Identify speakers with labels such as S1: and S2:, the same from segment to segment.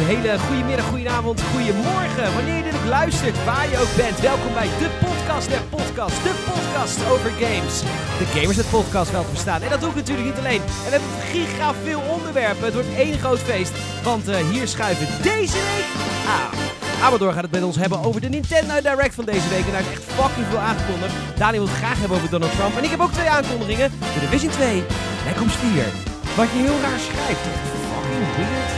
S1: Een hele goede middag, goedenavond, goedemorgen. Wanneer je dit ook luistert, waar je ook bent. Welkom bij de podcast der podcast. De podcast over games. De Gamers het podcast wel te verstaan. En dat doe ik natuurlijk niet alleen. En we hebben giga veel onderwerpen. Het wordt één groot feest. Want eh, hier schuiven deze week aan. Amador gaat het met ons hebben over de Nintendo Direct van deze week. En daar is echt fucking veel aangekondigd. Daniel wil het graag hebben over Donald Trump. En ik heb ook twee aankondigingen. De Division 2 en Coms 4. Wat je heel raar schrijft. Fucking weird.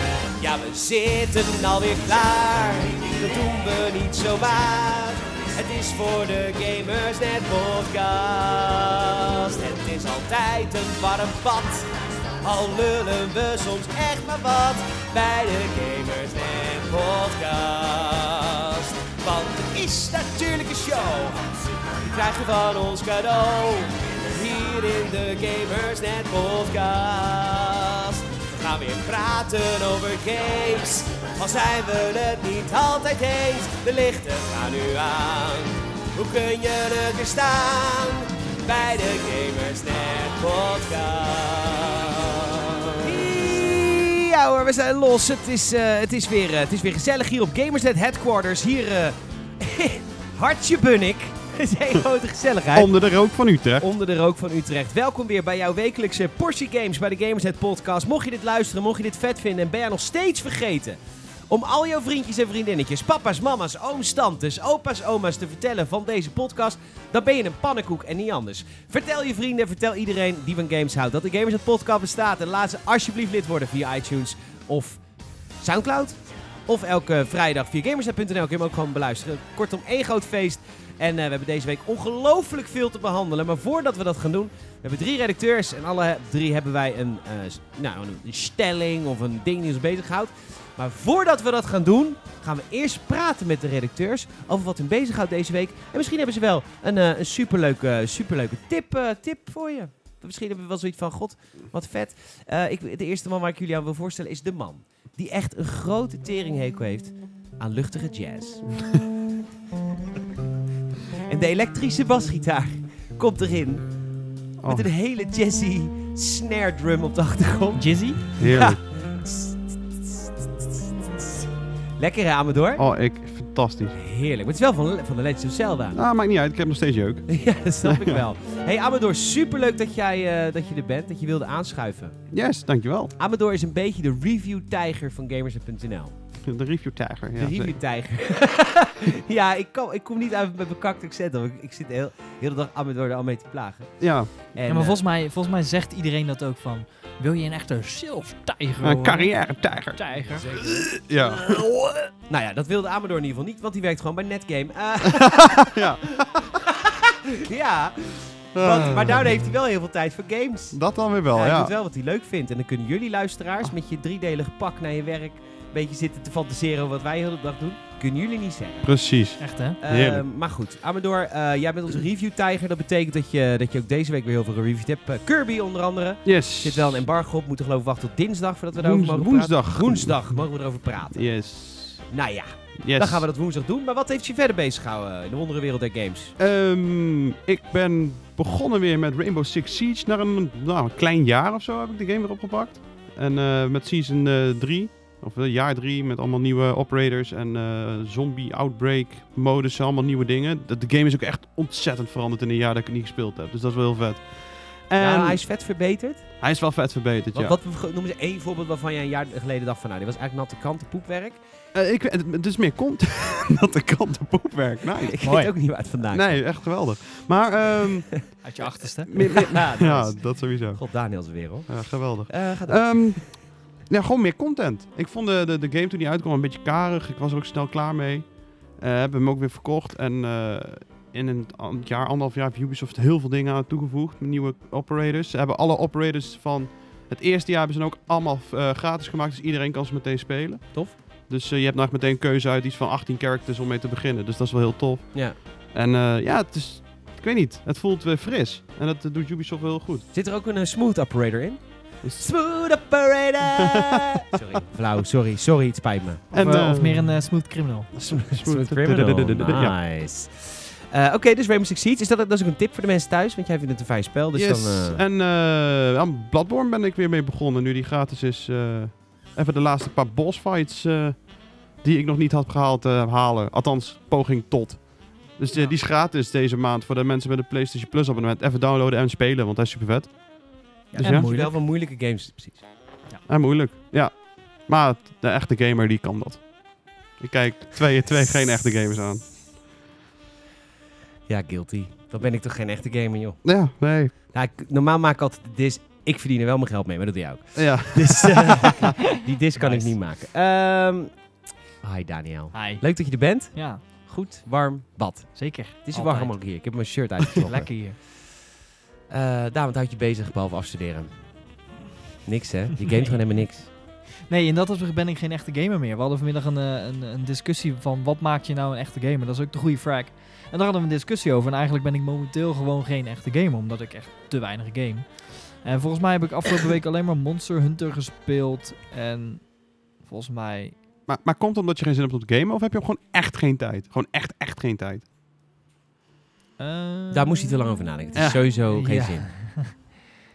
S1: Ja, we zitten alweer klaar. Dat doen we niet zomaar. Het is voor de Gamers Net Podcast. Het is altijd een warm bad. Al lullen we soms echt maar wat bij de Gamers Net Podcast. Want het is natuurlijk een show. Die krijg je van ons cadeau. Hier in de Gamers Net Podcast. We gaan weer praten over games. Al zijn we het niet altijd eens, de lichten gaan nu aan. Hoe kun je er weer staan bij de Gamers Net Podcast? Ja hoor, we zijn los. Het is, eh, het is, weer, eh, het is weer gezellig hier op Gamersnet Headquarters. Hier, eh hartje bunnik. Het is een grote gezelligheid.
S2: Onder de rook van Utrecht.
S1: Onder de rook van Utrecht. Welkom weer bij jouw wekelijkse Portie Games bij de Gamersnet Podcast. Mocht je dit luisteren, mocht je dit vet vinden en ben jij nog steeds vergeten om al jouw vriendjes en vriendinnetjes, papa's, mama's, ooms, tantes, opa's, oma's te vertellen van deze podcast, dan ben je een pannenkoek en niet anders. Vertel je vrienden, vertel iedereen die van games houdt dat de Gamersnet Podcast bestaat en laat ze alsjeblieft lid worden via iTunes of Soundcloud. Of elke vrijdag via gamersnet.nl kun je hem ook gewoon beluisteren. Kortom, één groot feest. En eh, we hebben deze week ongelooflijk veel te behandelen. Maar voordat we dat gaan doen, we hebben drie redacteurs. En alle drie hebben wij een, eh, s- nou, een stelling of een ding die ons bezighoudt. Maar voordat we dat gaan doen, gaan we eerst praten met de redacteurs over wat hun bezighoudt deze week. En misschien hebben ze wel een, eh, een superleuke, superleuke tip, eh, tip voor je. Misschien hebben we wel zoiets van, god, wat vet. Eh, ik, de eerste man waar ik jullie aan wil voorstellen is de man die echt een grote teringhekel heeft aan luchtige jazz. en de elektrische basgitaar komt erin
S2: Oh,
S1: met een hele jazzy snare drum op de achtergrond. Jazzy?
S2: heerlijk.
S1: Lekker hè, Amador?
S2: Oh, ik, fantastisch.
S1: Heerlijk, maar het is wel van, van de Legend of Zelda.
S2: Ah, maakt niet uit. Ik heb nog steeds jeuk.
S1: ja, dat snap ik wel. hey, Amador, superleuk dat, jij, eh, dat je er bent, dat je wilde aanschuiven.
S2: Yes, dankjewel.
S1: Amador is een beetje de review-tijger van Gamers.nl.
S2: De review tijger. Ja,
S1: de
S2: zeker.
S1: review-tijger. ja, ik, kom, ik kom niet uit met mijn kakte accent. hoor. Ik, ik zit de heel, heel de dag aan me door de al mee te plagen.
S2: ja.
S1: En,
S3: ja,
S1: eh,
S3: maar volgens mij, volgens mij zegt iedereen dat ook van... Wil je een echte zilftijger
S2: een
S3: worden?
S2: carrière tijger.
S3: Tijger.
S2: Ja.
S1: nou ja, dat wilde Amador in ieder geval niet, want die werkt gewoon bij Netgame. Eh,
S2: ja.
S1: ja, want, maar daardoor heeft hij wel heel veel tijd voor games.
S2: Dat dan weer Ah. wel,
S1: hij
S2: ja.
S1: doet wel wat hij leuk vindt. En dan kunnen jullie luisteraars met je driedelig pak naar je werk... een beetje zitten te fantaseren over wat wij heel de dag doen. Kunnen jullie niet zeggen.
S2: Precies.
S3: Echt, hè?
S1: Eh,
S2: Heerlijk.
S1: maar goed, Amador, eh, jij bent onze review-tijger. Dat betekent dat je, dat je ook deze week weer heel veel gereviewd hebt. Eh, Kirby onder andere.
S2: Yes.
S1: Er zit wel een embargo op. Moeten geloof ik wachten tot dinsdag voordat we daarover
S2: Woens-
S1: mogen
S2: woensdag.
S1: praten. Woensdag mogen we erover praten.
S2: Yes.
S1: Nou ja,
S2: Yes.
S1: dan gaan we dat woensdag doen. Maar wat heeft je verder bezig gehouden eh, in de wonderenwereld der games?
S2: Ehm, ik ben begonnen weer met Rainbow Six Siege. Na een, nou, een klein jaar of zo heb ik de game weer opgepakt. En eh, met season 3, of eh, jaar 3, met allemaal nieuwe operators en eh, zombie outbreak modus, allemaal nieuwe dingen. De, de game is ook echt ontzettend veranderd in een jaar dat ik het niet gespeeld heb. Dus dat is wel heel vet. En
S1: Nou, hij
S2: hij,
S1: is
S2: is...
S1: vet verbeterd.
S2: wel vet verbeterd,
S1: Wat,
S2: ja.
S1: wat we- noemen ze één voorbeeld waarvan jij een jaar geleden dacht van... Nou, dit was eigenlijk natte kanten poepwerk.
S2: Eh, ik, het, het is meer content dat de kant op poep werkt. Nice.
S1: Ik weet ook niet waar het vandaan komt.
S2: Nee, echt geweldig. Maar, ehm,
S3: Uit je achterste.
S2: meer- meer-
S1: Ja, dat
S2: ja,
S1: is-
S2: dat sowieso.
S1: God, Daniel is er weer, hoor.
S2: Ja, geweldig.
S1: Eh, ga door.
S2: Ehm ja, gewoon meer content. Ik vond de, de, de game toen die uitkwam een beetje karig. Ik was er ook snel klaar mee. Eh heb hem ook weer verkocht. En eh, in een an- jaar, anderhalf jaar heeft Ubisoft heel veel dingen aan toegevoegd. Nieuwe operators. Ze hebben alle operators van het eerste jaar hebben ze dan ook allemaal eh, gratis gemaakt. Dus iedereen kan ze meteen spelen.
S1: Tof.
S2: Dus eh, je hebt nou echt meteen keuze uit iets van 18 characters om mee te beginnen. Dus dat is wel heel tof.
S1: Ja.
S2: En eh, ja, het is... Ik weet niet. Het voelt weer fris. En dat eh, doet Ubisoft wel heel goed.
S1: Zit er ook een eh, smooth operator in?
S2: Dus-
S1: Smooth operator! sorry, flauw. Sorry, sorry. Het spijt me.
S3: Of, eh,
S1: ehm,
S2: eh,
S3: of meer een eh, smooth criminal.
S1: Smooth criminal.
S2: Ja.
S1: Nice. Eh, Oké, dus Rainbow Six Siege. Is dat, dat is ook een tip voor de mensen thuis? Want jij vindt het een fijn spel. Dus
S2: yes.
S1: dan, eh,
S2: En eh, aan Bloodborne ben ik weer mee begonnen, nu die gratis is. eh, even de laatste paar boss fights eh, die ik nog niet had gehaald eh, halen. Althans, poging tot. Dus eh,
S3: Ja.
S2: die is gratis deze maand voor de mensen met een PlayStation Plus abonnement. Even downloaden en spelen, want hij is super vet.
S1: Ja,
S2: Dus
S1: en
S2: ja.
S1: moeilijk. wel van moeilijke games. Precies.
S2: En moeilijk, ja. Maar de echte gamer die kan dat. Ik kijk twee, twee geen echte gamers aan.
S1: Ja, guilty. Dan ben ik toch geen echte gamer, joh.
S2: Ja, nee.
S1: Nou, ik- normaal maak ik altijd de disc. Ik verdien er wel mijn geld mee, maar dat doe jij ook.
S2: Ja.
S1: Dus eh, die disc kan
S3: Nice.
S1: ik niet maken. Ehm, hi Daniel.
S3: Hi.
S1: Leuk dat je er bent.
S3: Ja,
S1: Goed, warm bad.
S3: zeker.
S1: Het is
S3: Altijd.
S1: warm ook hier. Ik heb mijn shirt uitgetrokken.
S3: Lekker hier.
S1: Eh Daan, wat houd je bezig behalve afstuderen? Niks hè? Je gamet
S3: Nee.
S1: gewoon helemaal niks.
S3: Nee, in dat opzicht ben ik geen echte gamer meer. We hadden vanmiddag een, eh, een, een discussie van wat maakt je nou een echte gamer? Dat is ook de goede vraag. En daar hadden we een discussie over. En eigenlijk ben ik momenteel gewoon geen echte gamer, omdat ik echt te weinig game. En volgens mij heb ik afgelopen week alleen maar Monster Hunter gespeeld. En volgens mij...
S2: Maar, maar komt het omdat je geen zin hebt op het gamen? Of heb je ook gewoon echt geen tijd? Gewoon echt, echt geen tijd?
S3: eh,
S1: Daar moest je te lang over nadenken. Het is
S2: Ja.
S1: sowieso geen
S3: Ja.
S1: zin.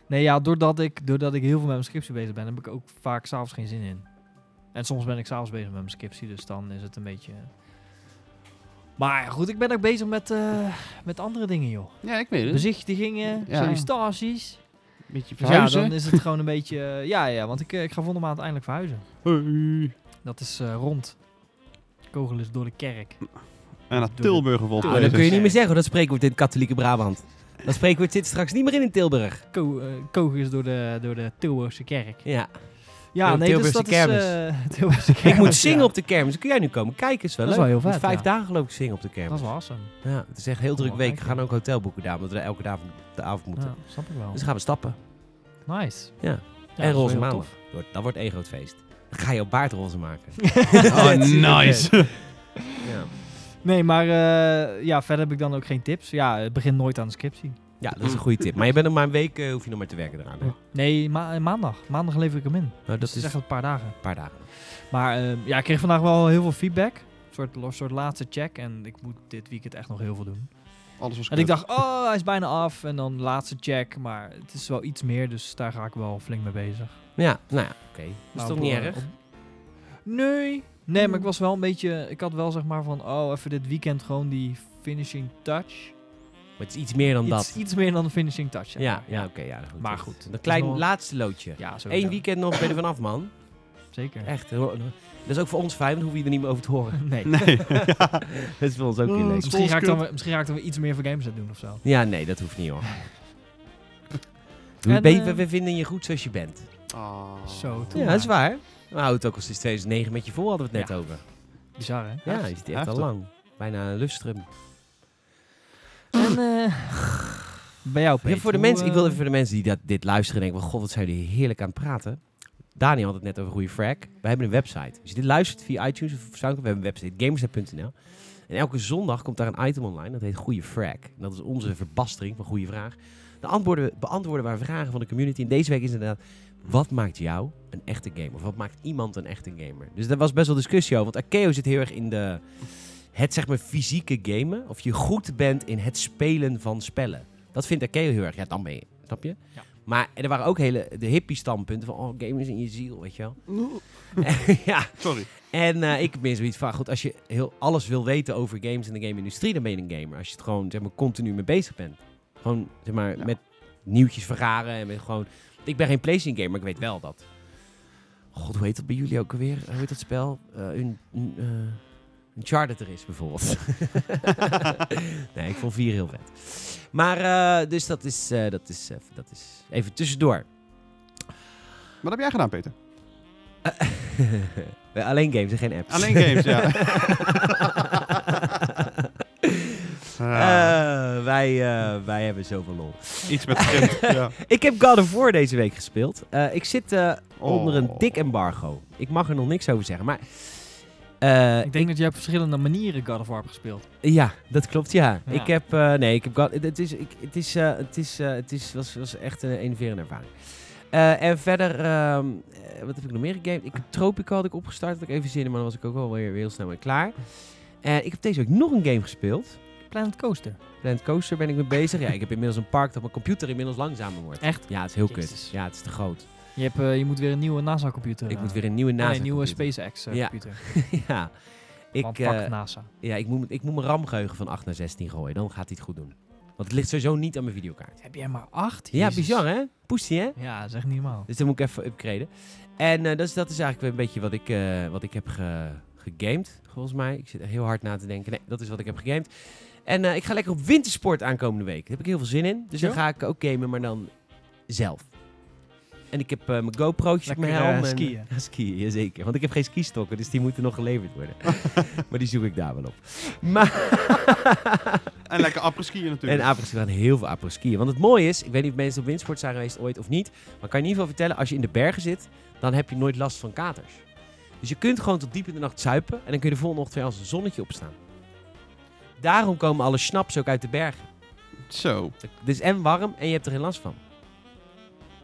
S3: Nee, ja, doordat ik, doordat ik heel veel met mijn scriptie bezig ben, heb ik ook vaak s'avonds geen zin in. En soms ben ik s'avonds bezig met mijn scriptie, dus dan is het een beetje... Maar goed, ik ben ook bezig met, eh, met andere dingen, joh.
S2: Ja, ik
S1: Dus?
S2: weet
S3: Bezichtigingen,
S2: Ja.
S3: sollicitaties.
S2: Beetje
S3: Dus ja, dan is het gewoon een beetje... eh, ja, ja, want ik, eh, ik ga volgende maand eindelijk verhuizen. Dat is eh, rond. Kogel is door de kerk.
S2: En naar Tilburg volgens
S3: Ah,
S1: Nou,
S2: mij.
S1: dat kun je
S2: is
S1: niet meer zeggen. hoor. Dat spreekwoord in het katholieke Brabant. Dat spreekwoord zit straks niet meer in in Tilburg.
S3: Ko eh, kogel is door de, door de Tilburgse kerk.
S1: Ja.
S3: Ja,
S1: Door
S3: nee, dus
S1: Tilburgse
S3: dat
S1: kermis.
S3: is... eh, Tilburgse kermis,
S1: ik moet zingen
S3: ja.
S1: op de kermis. Kun jij nu komen? Kijk eens wel.
S3: Dat is
S1: leuk.
S3: wel heel
S1: Met
S3: vet,
S1: Vijf
S3: ja.
S1: dagen geloof ik zingen op de kermis.
S3: Dat is wel awesome.
S1: Ja, het is echt heel
S3: Kom
S1: druk
S3: wel
S1: week. We
S3: kijken.
S1: gaan ook hotel boeken daar, omdat we elke dag de avond moeten.
S3: Ja, snap ik wel.
S1: Dus gaan we stappen.
S3: Nice.
S1: Ja.
S3: Ja,
S1: en roze
S3: dat is wel heel
S1: maandag. Dat wordt- Dat wordt één groot feest. Dan ga je op baard roze maken.
S3: tof.
S2: Oh, nice.
S1: ja.
S3: Nee, maar eh, ja, verder heb ik dan ook geen tips. Ja, het begint nooit aan de scriptie.
S1: ja, dat is een goede tip. Maar je bent nog maar een week, eh, hoef je nog maar te werken eraan. hè?
S3: Nee, ma- eh, maandag. Maandag lever ik hem in.
S1: Nou,
S3: Dat
S1: dat
S3: is
S1: is
S3: echt
S1: een
S3: een paar dagen.
S1: paar dagen.
S3: Maar eh, ja, ik kreeg vandaag wel heel veel feedback. Een soort, een soort laatste check. En ik moet dit weekend echt nog heel veel doen.
S2: Alles was
S3: En ik dacht, oh, hij is bijna af. En dan laatste check. Maar het is wel iets meer, dus daar ga ik wel flink mee bezig.
S1: Ja, nou ja, oké. Dat is
S3: Nou,
S1: toch
S3: op-
S1: niet erg?
S3: op- Nee. Nee, maar ik was wel een beetje... Ik had wel zeg maar van, oh, even dit weekend gewoon die finishing touch.
S1: Maar het is iets meer dan
S3: iets,
S1: dat.
S3: iets meer dan de finishing touch. zeg
S1: Ja,
S3: maar.
S1: ja oké. ja, goed.
S3: Maar
S1: Dat is
S3: goed,
S1: Een klein
S3: nog-
S1: laatste loodje.
S3: Ja, sowieso.
S1: Eén weekend nog ben je er vanaf, man.
S3: Zeker.
S1: Echt. heel- Dat is ook voor ons fijn, want dan hoef je er niet meer over te horen.
S3: Nee.
S2: Nee.
S1: Dat is voor ons ook
S2: Oh,
S1: niet leuk.
S3: Misschien ga, ik dan, weer- misschien ga ik dan weer iets meer voor games doen of zo.
S1: Ja, nee, dat hoeft niet hoor.
S3: En,
S1: we,
S3: eh,
S1: we- we vinden je goed zoals je bent. oh.
S2: Ah.
S3: Zo, toen
S1: Ja,
S3: maar.
S1: dat is waar. We houden het ook al sinds 2009 met je vol, hadden we het net over.
S3: Bizar, hè?
S1: Ja, je zit echt al
S2: Heftig.
S1: lang. Bijna een lustrum.
S3: En eh, bij
S1: Ja,
S3: jou, Peter,
S1: Nou, voor de
S3: hoe,
S1: mensen, ik wil
S3: eh,
S1: even voor de mensen die dat, dit luisteren denken, well, god, wat zijn jullie heerlijk aan het praten. Daniel had het net over goede frag. We hebben een website. Als je dit luistert via iTunes of SoundCloud, we hebben een website, gamersnet.nl. En elke zondag komt daar een item online, dat heet Goede Frag. En dat is onze verbastering van Goede Vraag. Dan antwoorden, beantwoorden we vragen van de community. En deze week is inderdaad, wat maakt jou een echte gamer? Of wat maakt iemand een echte gamer? Dus daar was best wel discussie over, want Akeo zit heel erg in de... Het zeg maar fysieke gamen, of je goed bent in het spelen van spellen. Dat vindt Akeo heel erg. Ja, dan ben je. Snap je?
S3: Ja.
S1: Maar er waren ook hele de hippie standpunten van oh, game is in je ziel, weet je wel. ja.
S2: Sorry.
S1: En eh, ik ben zoiets van goed, als je heel alles wil weten over games en de game industrie, dan ben je een gamer. Als je het gewoon zeg maar continu mee bezig bent. Gewoon zeg maar
S2: Ja.
S1: met nieuwtjes vergaren en met gewoon ik ben geen PlayStation gamer, maar ik weet wel dat. God, hoe heet dat bij jullie ook alweer? Hoe heet dat spel? Eh, een een, eh, een Charter er is bijvoorbeeld. nee, ik vond vier heel vet. Maar eh, dus dat is, eh, dat, is, eh, dat is even tussendoor.
S2: Wat heb jij gedaan, Peter?
S1: Eh, Alleen games en geen apps.
S2: Alleen games, ja. Ah,
S1: Eh, wij, eh, wij hebben zoveel lol.
S2: iets met script. ja.
S1: Ik heb God of War deze week gespeeld. Eh, ik zit eh, onder een
S2: Oh.
S1: dik embargo. Ik mag er nog niks over zeggen, maar... eh,
S3: Ik denk dat jij op verschillende manieren God of War hebt gespeeld.
S1: Ja, dat klopt, ja.
S3: Ja.
S1: Ik heb... eh, nee, ik heb... God- Het is, ik, het is, eh, het is, eh, het is, was, was echt een enerverende ervaring. Eh, en verder, ehm, eh, wat heb ik nog meer gegamed? Ik, Tropico had ik opgestart, had ik even zin in, maar dan was ik ook wel weer, weer heel snel mee klaar. Eh, ik heb deze week nog een game gespeeld.
S3: Planet Coaster.
S1: Planet Coaster ben ik mee bezig. Ja, ik heb inmiddels een park dat mijn computer inmiddels langzamer wordt.
S3: Echt?
S1: Ja, het is heel
S3: Jezus.
S1: kut. Ja, het is te groot.
S3: Je, hebt, eh, je moet weer een nieuwe NASA-computer.
S1: Ik moet weer een nieuwe
S3: een
S1: NASA.
S3: nieuwe
S1: computer. Ja.
S3: SpaceX-computer.
S1: ja.
S3: Want
S1: Ik,
S3: fuck nou.
S1: eh,
S3: NASA.
S1: ja, ik moet, ik moet mijn RAM-geheugen van 8 naar 16 gooien. Dan gaat hij het goed doen. Want het ligt sowieso niet aan mijn videokaart.
S3: Heb jij maar acht?
S1: Ja,
S3: Jezus.
S1: bizar hè? Poestie hè?
S3: Ja, dat is echt niet normaal.
S1: Dus dan moet ik even upgraden. En eh, dat, is, dat is eigenlijk weer een beetje wat ik, eh, wat ik heb ge, gegamed, volgens mij. Ik zit er heel hard na te denken. Nee, dat is wat ik heb gegamed. En eh, ik ga lekker op wintersport aankomende week. Daar heb ik heel veel zin in. Dus dan
S3: Ja?
S1: ga ik ook gamen, maar dan zelf. En ik heb eh, mijn GoPro'tjes op mijn
S3: Lekker, eh,
S1: helm. en-
S3: skiën.
S1: Ja, skiën, jazeker. Want ik heb geen skistokken, dus die moeten nog geleverd worden. maar die zoek ik daar wel op. Maar,
S2: En lekker apres-skiën natuurlijk.
S1: en apres gaan heel veel apres skiën. Want het mooie is, ik weet niet of mensen op windsport zijn geweest ooit of niet. Maar ik kan je in ieder geval vertellen, als je in de bergen zit, dan heb je nooit last van katers. Dus je kunt gewoon tot diep in de nacht zuipen en dan kun je de volgende ochtend weer als een zonnetje opstaan. Daarom komen alle snaps ook uit de bergen.
S2: Zo.
S1: Het is en warm en je hebt er geen last van.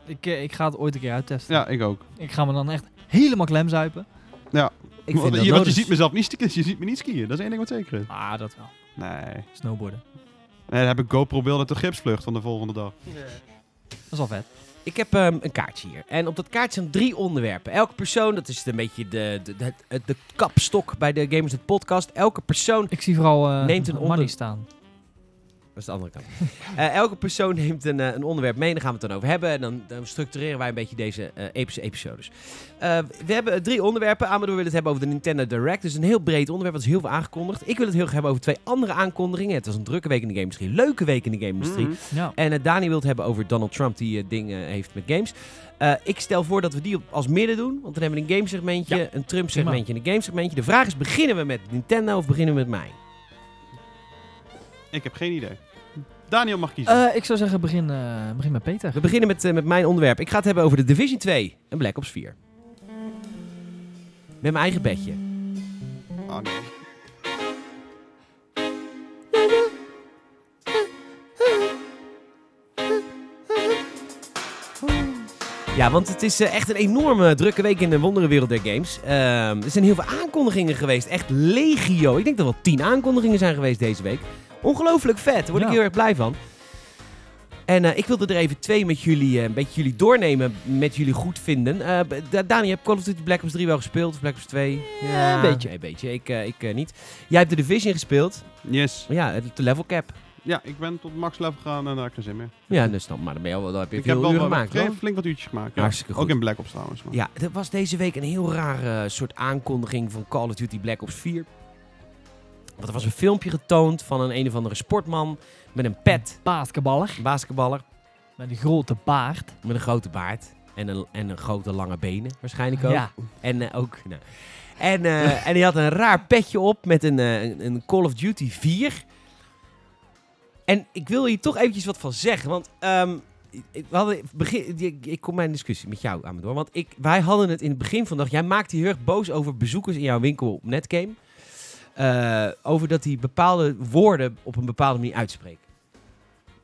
S3: Ik, eh, ik ga het ooit een keer uittesten.
S2: Ja, ik ook.
S3: Ik ga me dan echt helemaal klemzuipen.
S1: Ik vind
S2: Want
S1: dat
S2: je, want je
S1: nodig.
S2: ziet mezelf niet skiën. Je ziet me niet skiën. Dat is één ding wat zeker is.
S3: Ah, dat wel.
S2: Nee.
S3: Snowboarden.
S2: Nee, dan heb ik GoPro-beelden te gipsvlucht van de volgende dag.
S1: Mm.
S3: Dat is al vet.
S1: Ik heb ehm, een kaartje hier. En op dat kaartje zijn drie onderwerpen. Elke persoon, dat is een beetje de, de, de, het- de kapstok bij de Gamers het Podcast. Elke persoon.
S3: Ik zie vooral eh
S1: Neemt een
S3: money
S1: onder-
S3: staan.
S1: Dat is de andere kant. Eh, elke persoon neemt een, eh, een onderwerp mee. Daar gaan we het dan over hebben. En dan, dan structureren wij een beetje deze eh, epische episodes. Eh, we hebben drie onderwerpen. Amador wil het hebben over de Nintendo Direct. Dus een heel breed onderwerp. Dat is heel veel aangekondigd. Ik wil het heel graag hebben over twee andere aankondigingen. Het was een drukke week in de game-industrie. Leuke week in de game-industrie.
S2: Mhm.
S3: Ja.
S1: En eh, Dani wil het hebben over Donald Trump die eh, dingen heeft met games. Eh, ik stel voor dat we die op, als midden doen. Want dan hebben we een game segmentje, een Trump segmentje en een game segmentje. De vraag is, beginnen we met Nintendo of beginnen we met mij?
S2: Ik heb geen idee. Daniel mag kiezen.
S3: Eh, ik zou zeggen, begin, eh, begin met Peter.
S1: We beginnen met, eh, met mijn onderwerp. Ik ga het hebben over de Division 2 en Black Ops 4. Met mijn eigen bedje. Eh.
S2: Ah, nee.
S1: Ja, want het is eh, echt een enorme drukke week in de wonderenwereld der games. Ehm, er zijn heel veel aankondigingen geweest. Echt legio. Ik denk dat er wel tien aankondigingen zijn geweest deze week. Ongelooflijk vet. Daar word ik
S3: Ja.
S1: heel erg blij van. En eh, ik wilde er even twee met jullie, eh, een beetje jullie doornemen, met jullie goed vinden. Eh, B- Da- Dani, heb je Call of Duty Black Ops 3 wel gespeeld? Of Black Ops 2?
S3: Ja, Eh, een beetje.
S1: Een beetje. Ik, eh, ik eh, niet. Jij hebt de Division gespeeld.
S2: Yes.
S1: Ja, het- de level cap.
S2: Ja, ik ben tot max level gegaan en daar heb ik geen zin meer.
S1: Ja, dus dan, maar dan, ben je al, dan heb je
S2: Ik
S1: veel
S2: heb wel
S1: uren
S2: wat-
S1: gemaakt,
S2: flink-
S1: hoor.
S2: flink wat uurtjes gemaakt. ja.
S1: Hartstikke goed.
S2: Ook in Black Ops trouwens. maar-
S1: Ja, er was deze week een heel rare eh, soort aankondiging van Call of Duty Black Ops 4. Want er was een filmpje getoond van een een of andere sportman met een pet,
S3: Paardkaballer.
S1: een basketballer,
S3: Met die grote baard.
S1: met een grote baard en een, en een grote lange benen waarschijnlijk ook.
S3: Ja.
S1: En eh, ook, nou. En, eh, en die had een raar petje op met een, eh, een- een Call of Duty 4. En ik wil hier toch eventjes wat van zeggen, want ehm, ik- ik- we hadden begin, ik, ik kom mijn discussie met jou aan door. Want ik, wij hadden het in het begin van de dag, jij maakte je heel erg boos over bezoekers in jouw winkel op Netgame. Eh, over dat die bepaalde woorden op een bepaalde manier uitspreken.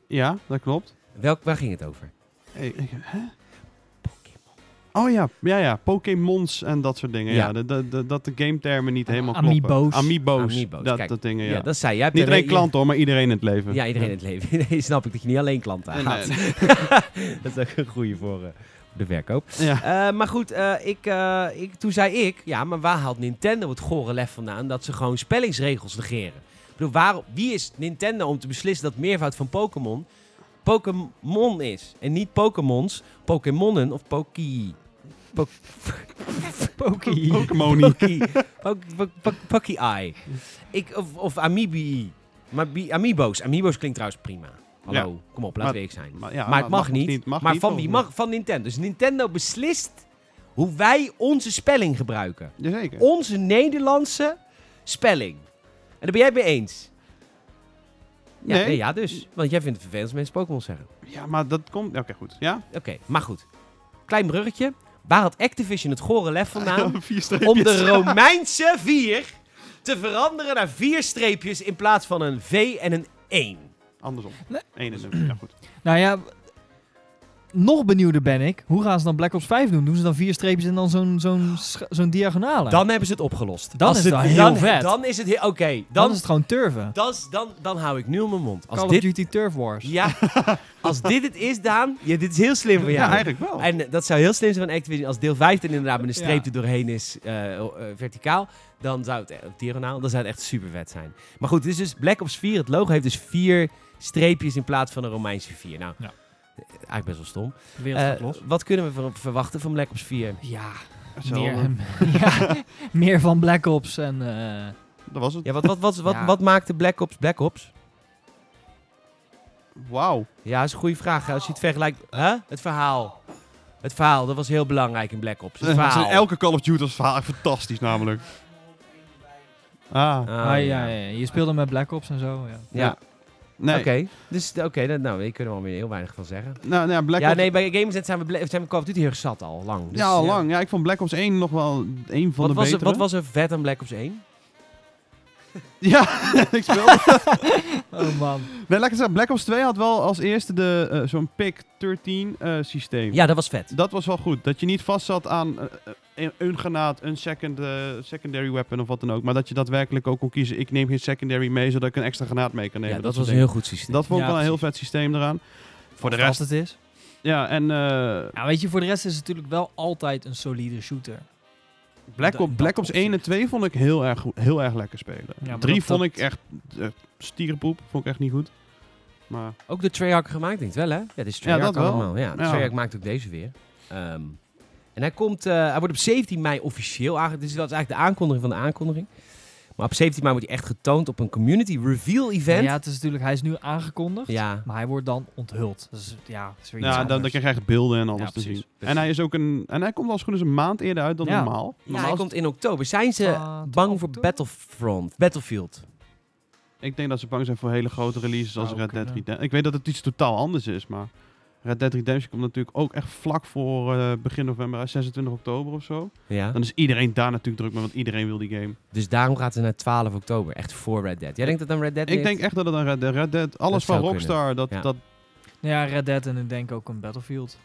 S2: Ja, dat klopt.
S1: Welk, waar ging het over?
S2: Hey, ik- hè? Oh ja, ja, ja. Pokémons en dat soort dingen.
S1: Ja.
S2: Ja, dat- dat- dat- dat de game termen niet helemaal
S3: Amiibo's.
S2: kloppen. Amiibo's.
S1: Amiibo's,
S2: Dat,
S1: kijk.
S2: dat dingen, ja.
S1: Ja, dat zei jij. hebt
S2: niet
S1: een
S2: alleen
S1: re-
S2: klanten hoor, maar iedereen in het leven.
S1: Ja, iedereen in het leven. Nee, snap ik dat je niet alleen klanten
S2: Nee,
S1: haat. dat is ook een goede voor eh, voor de verkoop.
S2: Ja.
S1: Eh, maar goed, eh, ik, eh, ik, toen zei ik... Ja, maar waar haalt Nintendo het gore lef vandaan... dat ze gewoon spellingsregels negeren? Ik bedoel, waarom, wie is Nintendo om te beslissen dat meervoud van Pokémon... Pokémon is? En niet Pokémons, Pokémonnen of Poki... Pok- Poki...
S2: Pokémonie.
S1: Poki... Pok- pok- pok- Poki-Eye. Ik- Of, of Amiibi... Maar bi- Amiibo's. Amiibo's klinkt trouwens prima. Hallo, kom op, laten
S2: Maar-
S1: we eerlijk zijn.
S2: Maar, ja,
S1: maar het mag, niet.
S2: mag
S1: maar
S2: niet,
S1: van
S2: volgens
S1: wie
S2: mij.
S1: mag? Van Nintendo. Dus Nintendo beslist hoe wij onze spelling gebruiken.
S2: Jazeker.
S1: Onze Nederlandse spelling. En daar ben jij het mee eens. Ja,
S2: Nee.
S1: ja, dus. Want jij vindt het vervelend als mensen Pokémon zeggen.
S2: Ja, maar dat komt... ja, Oké, goed. Ja?
S1: Oké, maar goed. Klein bruggetje. Waar had Activision het gore lef vandaan?
S2: Vier
S1: om
S2: streepjes.
S1: de Romeinse 4 te veranderen naar vier streepjes in plaats van een V en een 1.
S2: Andersom.
S3: Nee.
S2: Eén en een. Ja, goed.
S3: Nou ja, nog benieuwder ben ik, hoe gaan ze dan Black Ops 5 doen? Doen ze dan vier streepjes en dan zo'n zo'n scha- zo'n diagonale?
S1: Dan hebben ze het opgelost.
S3: Dan
S1: Als
S3: is
S1: ze-
S3: het wel heel
S1: dan,
S3: vet.
S1: Dan is het heel... Oké,
S3: Dan
S1: dan,
S3: is het gewoon turven.
S1: dan, is- dan, dan hou ik nu mijn mond. Als
S3: Call
S1: dit,
S3: of Duty Turf Wars.
S1: Ja, als dit het is, Daan... Ja, dit is heel slim van jou.
S2: Ja, eigenlijk wel.
S1: En eh, dat zou heel slim zijn van Activision. Als deel 5 er inderdaad met een streep
S3: Ja.
S1: er doorheen is, eh, eh, verticaal, dan zou het, eh, of diagonaal, dan zou het echt super vet zijn. Maar goed, het is dus Black Ops 4. Het logo heeft dus vier streepjes in plaats van een Romeinse 4. Nou,
S3: Ja.
S1: eh, eigenlijk best wel stom.
S3: De wereld gaat
S1: Eh,
S3: los.
S1: wat kunnen we van, verwachten van Black Ops 4?
S3: Ja,
S2: Zo,
S3: meer,
S2: eh,
S3: ja, meer van Black Ops en... eh,
S2: dat was het.
S1: Ja, wat, wat, wat, wat,
S3: Ja.
S1: wat maakte Black Ops Black Ops?
S2: Wauw.
S1: Ja, dat is een goede vraag. hè. Als je het vergelijkt... Huh? Het verhaal. Het verhaal, dat was heel belangrijk in Black Ops. Het
S2: Dat
S1: verhaal.
S2: is- Elke Call of Duty was verhaal echt fantastisch namelijk. Ah,
S1: Ah,
S3: ah, ja, ja, ja. Je speelde met Black Ops en zo, ja.
S1: Ja.
S2: nee.
S1: Oké, dus oké, dat- nou, hier kunnen we alweer heel weinig van zeggen.
S2: Nou, nou, ja, Black
S1: ja,
S2: Ops...
S1: nee, bij Gameset zijn we, ble- zijn we Call of Duty heel erg zat al, lang. Dus,
S2: ja, al lang. Ja, ik vond Black Ops 1 nog wel een van
S1: Wat
S2: de
S1: was, er,
S2: betere.
S1: wat was er vet aan Black Ops 1?
S2: Ja, ik speelde...
S3: Oh man.
S2: nee, laat ik het zeggen. Black Ops 2 had wel als eerste de, eh, zo'n pick 13 eh, systeem.
S1: Ja, dat was vet.
S2: Dat was wel goed. Dat je niet vast zat aan eh, eh, een, een granaat, een second, eh, secondary weapon of wat dan ook. Maar dat je daadwerkelijk ook kon kiezen. Ik neem geen secondary mee, zodat ik een extra granaat mee kan
S1: ja,
S2: nemen.
S1: dat,
S2: soort
S1: was een
S2: dingen.
S1: heel goed systeem.
S2: Dat vond ik
S3: Ja,
S2: wel een heel vet systeem eraan. Voor de
S3: Als
S2: rest.
S3: het is.
S2: Ja, en eh,
S3: Ja, weet je, voor de rest is het natuurlijk wel altijd een solide shooter.
S2: Black,
S3: dat-
S2: Ops,
S3: dat
S2: Black Ops 1 en 2 vond ik heel erg, goed- heel erg lekker spelen.
S3: Ja, maar
S2: 3
S3: dat-
S2: vond
S3: dat-
S2: ik echt eh, stierenpoep. Vond ik echt niet goed. Maar
S1: Ook de Treyarch gemaakt, denk ik wel, hè? Ja, dit is Treyarch
S2: dat wel.
S1: allemaal. Ja, de
S2: Ja.
S1: Treyarch maakt ook deze weer. Ehm, en hij, komt, eh, hij wordt op 17 mei officieel aangekondigd. Dus dat is eigenlijk de aankondiging van de aankondiging. Maar op 17 mei wordt hij echt getoond op een community reveal event.
S3: Ja, het is natuurlijk, hij is nu aangekondigd,
S1: ja.
S3: maar hij wordt dan onthuld. Dus ja, het is weer iets
S2: ja, dan, dan
S3: anders.
S2: krijg je echt beelden en alles
S1: Ja,
S2: te
S1: precies,
S2: zien.
S1: precies.
S2: En hij, is ook een, en hij komt al zo goed als een maand eerder uit dan
S3: Ja.
S2: normaal.
S1: Ja,
S2: normaal
S1: hij
S2: is-
S1: komt in oktober. Zijn ze
S3: Ah,
S1: bang voor
S3: oktober?
S1: Battlefront? Battlefield?
S2: Ik denk dat ze bang zijn voor hele grote releases als
S3: Zou
S2: Red Dead
S3: kunnen.
S2: Redemption. Ik weet dat het iets totaal anders is, maar Red Dead Redemption komt natuurlijk ook echt vlak voor eh, begin november, uit, 26 oktober of zo.
S1: Ja.
S2: Dan is iedereen daar natuurlijk druk mee, want iedereen wil die game.
S1: Dus daarom gaat het naar 12 oktober. Echt voor Red Dead. Jij denkt dat dan Red Dead
S2: Ik denk echt dat het een Red Dead, Red Dead alles
S1: Dat
S2: van
S1: zou kunnen.
S2: Rockstar, dat,
S1: Ja.
S2: dat
S3: Ja, Red Dead en ik denk ook een Battlefield.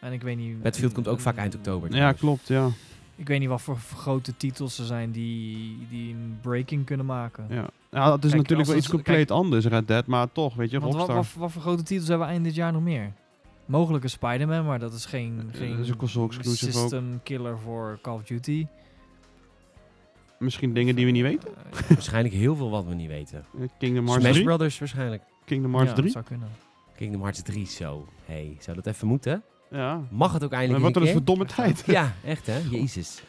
S3: En ik weet niet...
S1: Battlefield komt ook vaak
S3: eh,
S1: eind oktober.
S2: ja klopt, ja.
S3: Ik weet niet wat voor grote titels er zijn die, die een breaking kunnen maken.
S2: ja. Ja, dat is
S3: Kijk,
S2: natuurlijk
S3: als
S2: wel
S3: het-
S2: iets compleet anders, Red Dead, maar toch, weet je,
S3: Want wat,
S2: Rockstar.
S3: wat, wat voor grote titels hebben we eind dit jaar nog meer? Mogelijk een Spider-Man, maar dat is geen,
S2: Eh,
S3: geen
S2: dat is een console exclusive ook.
S3: system killer voor Call of Duty.
S2: Misschien dingen die we niet weten.
S3: Eh,
S1: Waarschijnlijk heel veel wat we niet weten.
S2: Eh, Kingdom Hearts
S1: Smash
S2: 3.
S1: Brothers waarschijnlijk.
S2: Kingdom Hearts
S3: ja,
S2: 3.
S3: dat zou kunnen.
S1: Kingdom Hearts 3 zo. hey, zou dat even moeten?
S2: Ja.
S1: Mag het ook
S2: Maar
S1: eindelijk
S2: wat er is
S1: een
S2: voor domme tijd.
S1: keer? Ja, echt hè? Jezus.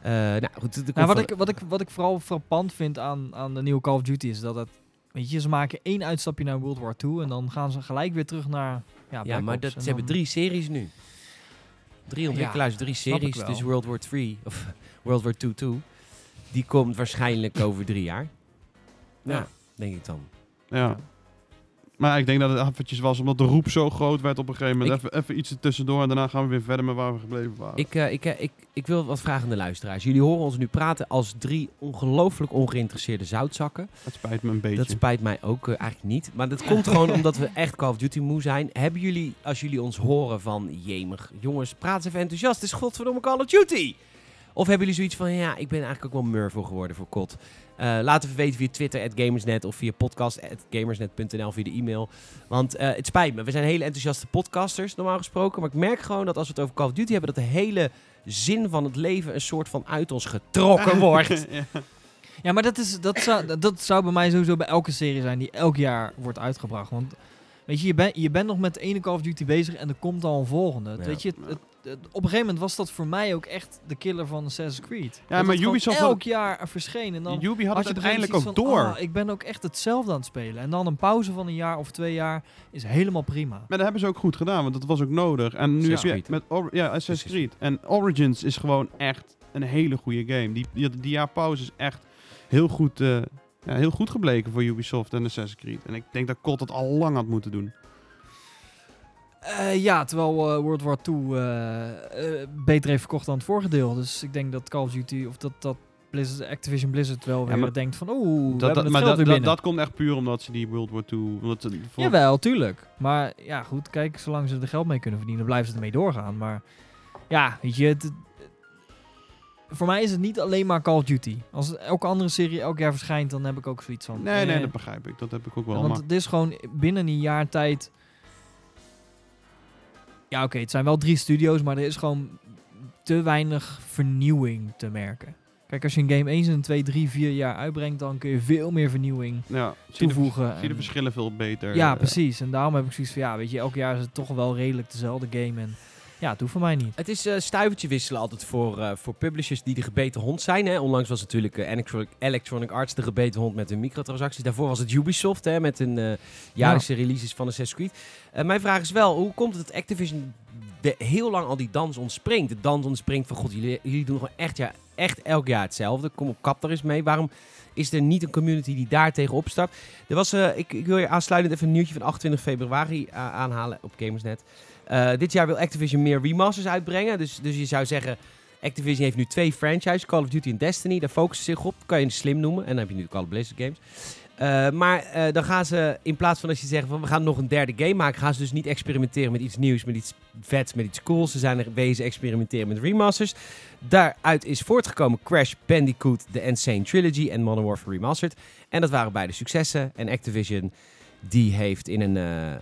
S1: Eh, nou goed, er komt
S3: Nou, wat,
S1: van-
S3: ik, wat, ik, wat ik vooral frappant vind aan, aan de nieuwe Call of Duty is dat het... Weet je, ze maken één uitstapje naar World War II en dan gaan ze gelijk weer terug naar... Ja,
S1: ja,
S3: Black
S1: maar
S3: Ops.
S1: dat,
S3: En
S1: ze hebben
S3: dan-
S1: drie series nu. Drie ontwikkelaars, drie
S3: snap
S1: series.
S3: ik wel.
S1: Dus World War 3 of World War 2 2. Die komt waarschijnlijk over drie jaar. Ja,
S2: Ja.
S1: denk ik dan.
S2: Ja. Maar ik denk dat het eventjes was, omdat de roep zo groot werd op een gegeven moment. Even, even iets tussendoor en daarna gaan we weer verder met waar we gebleven waren.
S1: Ik, eh, ik, eh, ik, ik wil wat vragen aan de luisteraars. Jullie horen ons nu praten als drie ongelooflijk ongeïnteresseerde zoutzakken.
S2: Het spijt me een beetje.
S1: Dat spijt mij ook eh, eigenlijk niet. Maar dat komt gewoon omdat we echt Call of Duty moe zijn. Hebben jullie, als jullie ons horen van... Jemig, jongens, praat eens even enthousiast. Het is godverdomme Call of Duty. Of hebben jullie zoiets van... Ja, ik ben eigenlijk ook wel murvel geworden voor COD. Eh laat even weten via Twitter, at Gamersnet... of via podcast.gamersnet.nl, via de e-mail. Want eh, het spijt me. We zijn hele enthousiaste podcasters, normaal gesproken. Maar ik merk gewoon dat als we het over Call of Duty hebben... dat de hele zin van het leven een soort van uit ons getrokken wordt.
S2: Ja.
S3: Ja, maar dat, is, dat, zou, dat zou bij mij sowieso bij elke serie zijn die elk jaar wordt uitgebracht. Want weet je, je, bent je bent nog met de ene Call of Duty bezig en er komt al een volgende.
S1: Ja.
S3: Weet je, het- het- het- op een gegeven moment was dat voor mij ook echt de killer van Assassin's Creed. Dat
S2: maar
S3: het gewoon
S2: Ubisoft had-
S3: elk jaar verscheen en dan...
S2: Yubi had het
S3: had je op een gegeven
S2: uiteindelijk ook
S3: moment zoiets
S2: door.
S3: van, "Ah, ik ben ook echt hetzelfde aan het spelen. En dan een pauze van een jaar of twee jaar is helemaal prima.
S2: Maar dat hebben ze ook goed gedaan, want dat was ook nodig. En nu heb
S1: Assassin's
S2: je
S1: Creed.
S2: met Or- ja, Assassin's
S1: Precies.
S2: Creed. En Origins is gewoon echt een hele goede game. Die, die, die jaar pauze is echt heel goed, eh, ja, heel goed gebleken voor Ubisoft en Assassin's Creed. En ik denk dat COD dat al lang had moeten doen.
S3: Eh, ja, terwijl eh, World War II eh, eh, beter heeft verkocht dan het vorige deel. Dus ik denk dat Call of Duty of dat, dat Blizzard, Activision Blizzard wel weer
S2: Ja, maar-
S3: denkt van oeh, we
S2: Dat,
S3: hebben
S2: dat,
S3: het
S2: maar
S3: geld
S2: dat,
S3: weer
S2: dat,
S3: binnen.
S2: dat komt echt puur omdat ze die World War II... Omdat ze voor-
S3: Jawel, tuurlijk. Maar ja, goed, kijk, zolang ze er geld mee kunnen verdienen, blijven ze ermee doorgaan. Maar ja, weet je, het, het- voor mij is het niet alleen maar Call of Duty. Als elke andere serie elk jaar verschijnt, dan heb ik ook zoiets van...
S2: nee, nee,
S3: eh,
S2: dat begrijp ik. Dat heb ik ook wel.
S3: want
S2: maar
S3: het is gewoon binnen een jaar tijd... Ja, oké, het zijn wel drie studio's, maar er is gewoon te weinig vernieuwing te merken. Kijk, als je een game eens in 2, 3, 4 jaar uitbrengt, dan kun je veel meer vernieuwing
S2: ja, zie je de,
S3: toevoegen.
S2: zie je de
S3: en-
S2: verschillen veel beter.
S3: ja,
S2: eh,
S3: precies. En daarom heb ik zoiets van, ja, weet je, elk jaar is het toch wel redelijk dezelfde game. En ja, het hoeft voor mij niet.
S1: Het is eh stuivertje wisselen altijd voor, eh, voor publishers die de gebeten hond zijn. Hè. Onlangs was natuurlijk eh, Electronic, Electronic Arts de gebeten hond met hun microtransacties. Daarvoor was het Ubisoft hè, met hun eh, jaarlijkse releases van Assassin's Creed. Eh, mijn vraag is wel, hoe komt het dat Activision de, heel lang al die dans ontspringt? De dans ontspringt van, god, jullie, jullie doen gewoon echt, ja, echt elk jaar hetzelfde. Kom op, kap er eens mee. Waarom is er niet een community die daar tegen opstapt? Er was, eh, ik, ik wil je aansluitend even een nieuwtje van 28 februari eh, aanhalen op Gamersnet. Eh, dit jaar wil Activision meer remasters uitbrengen. Dus, dus je zou zeggen, Activision heeft nu twee franchises, Call of Duty en Destiny. Daar focussen ze zich op. Kan je het slim noemen. En dan heb je nu Call of Blizzard games. Eh, maar eh, dan gaan ze, in plaats van dat je zegt van we gaan nog een derde game maken, gaan ze dus niet experimenteren met iets nieuws, met iets vets, met iets cools. Ze zijn er wezen experimenteren met remasters. Daaruit is voortgekomen Crash Bandicoot, The Insane Trilogy en Modern Warfare Remastered. En dat waren beide successen. En Activision die heeft in een, eh, eh,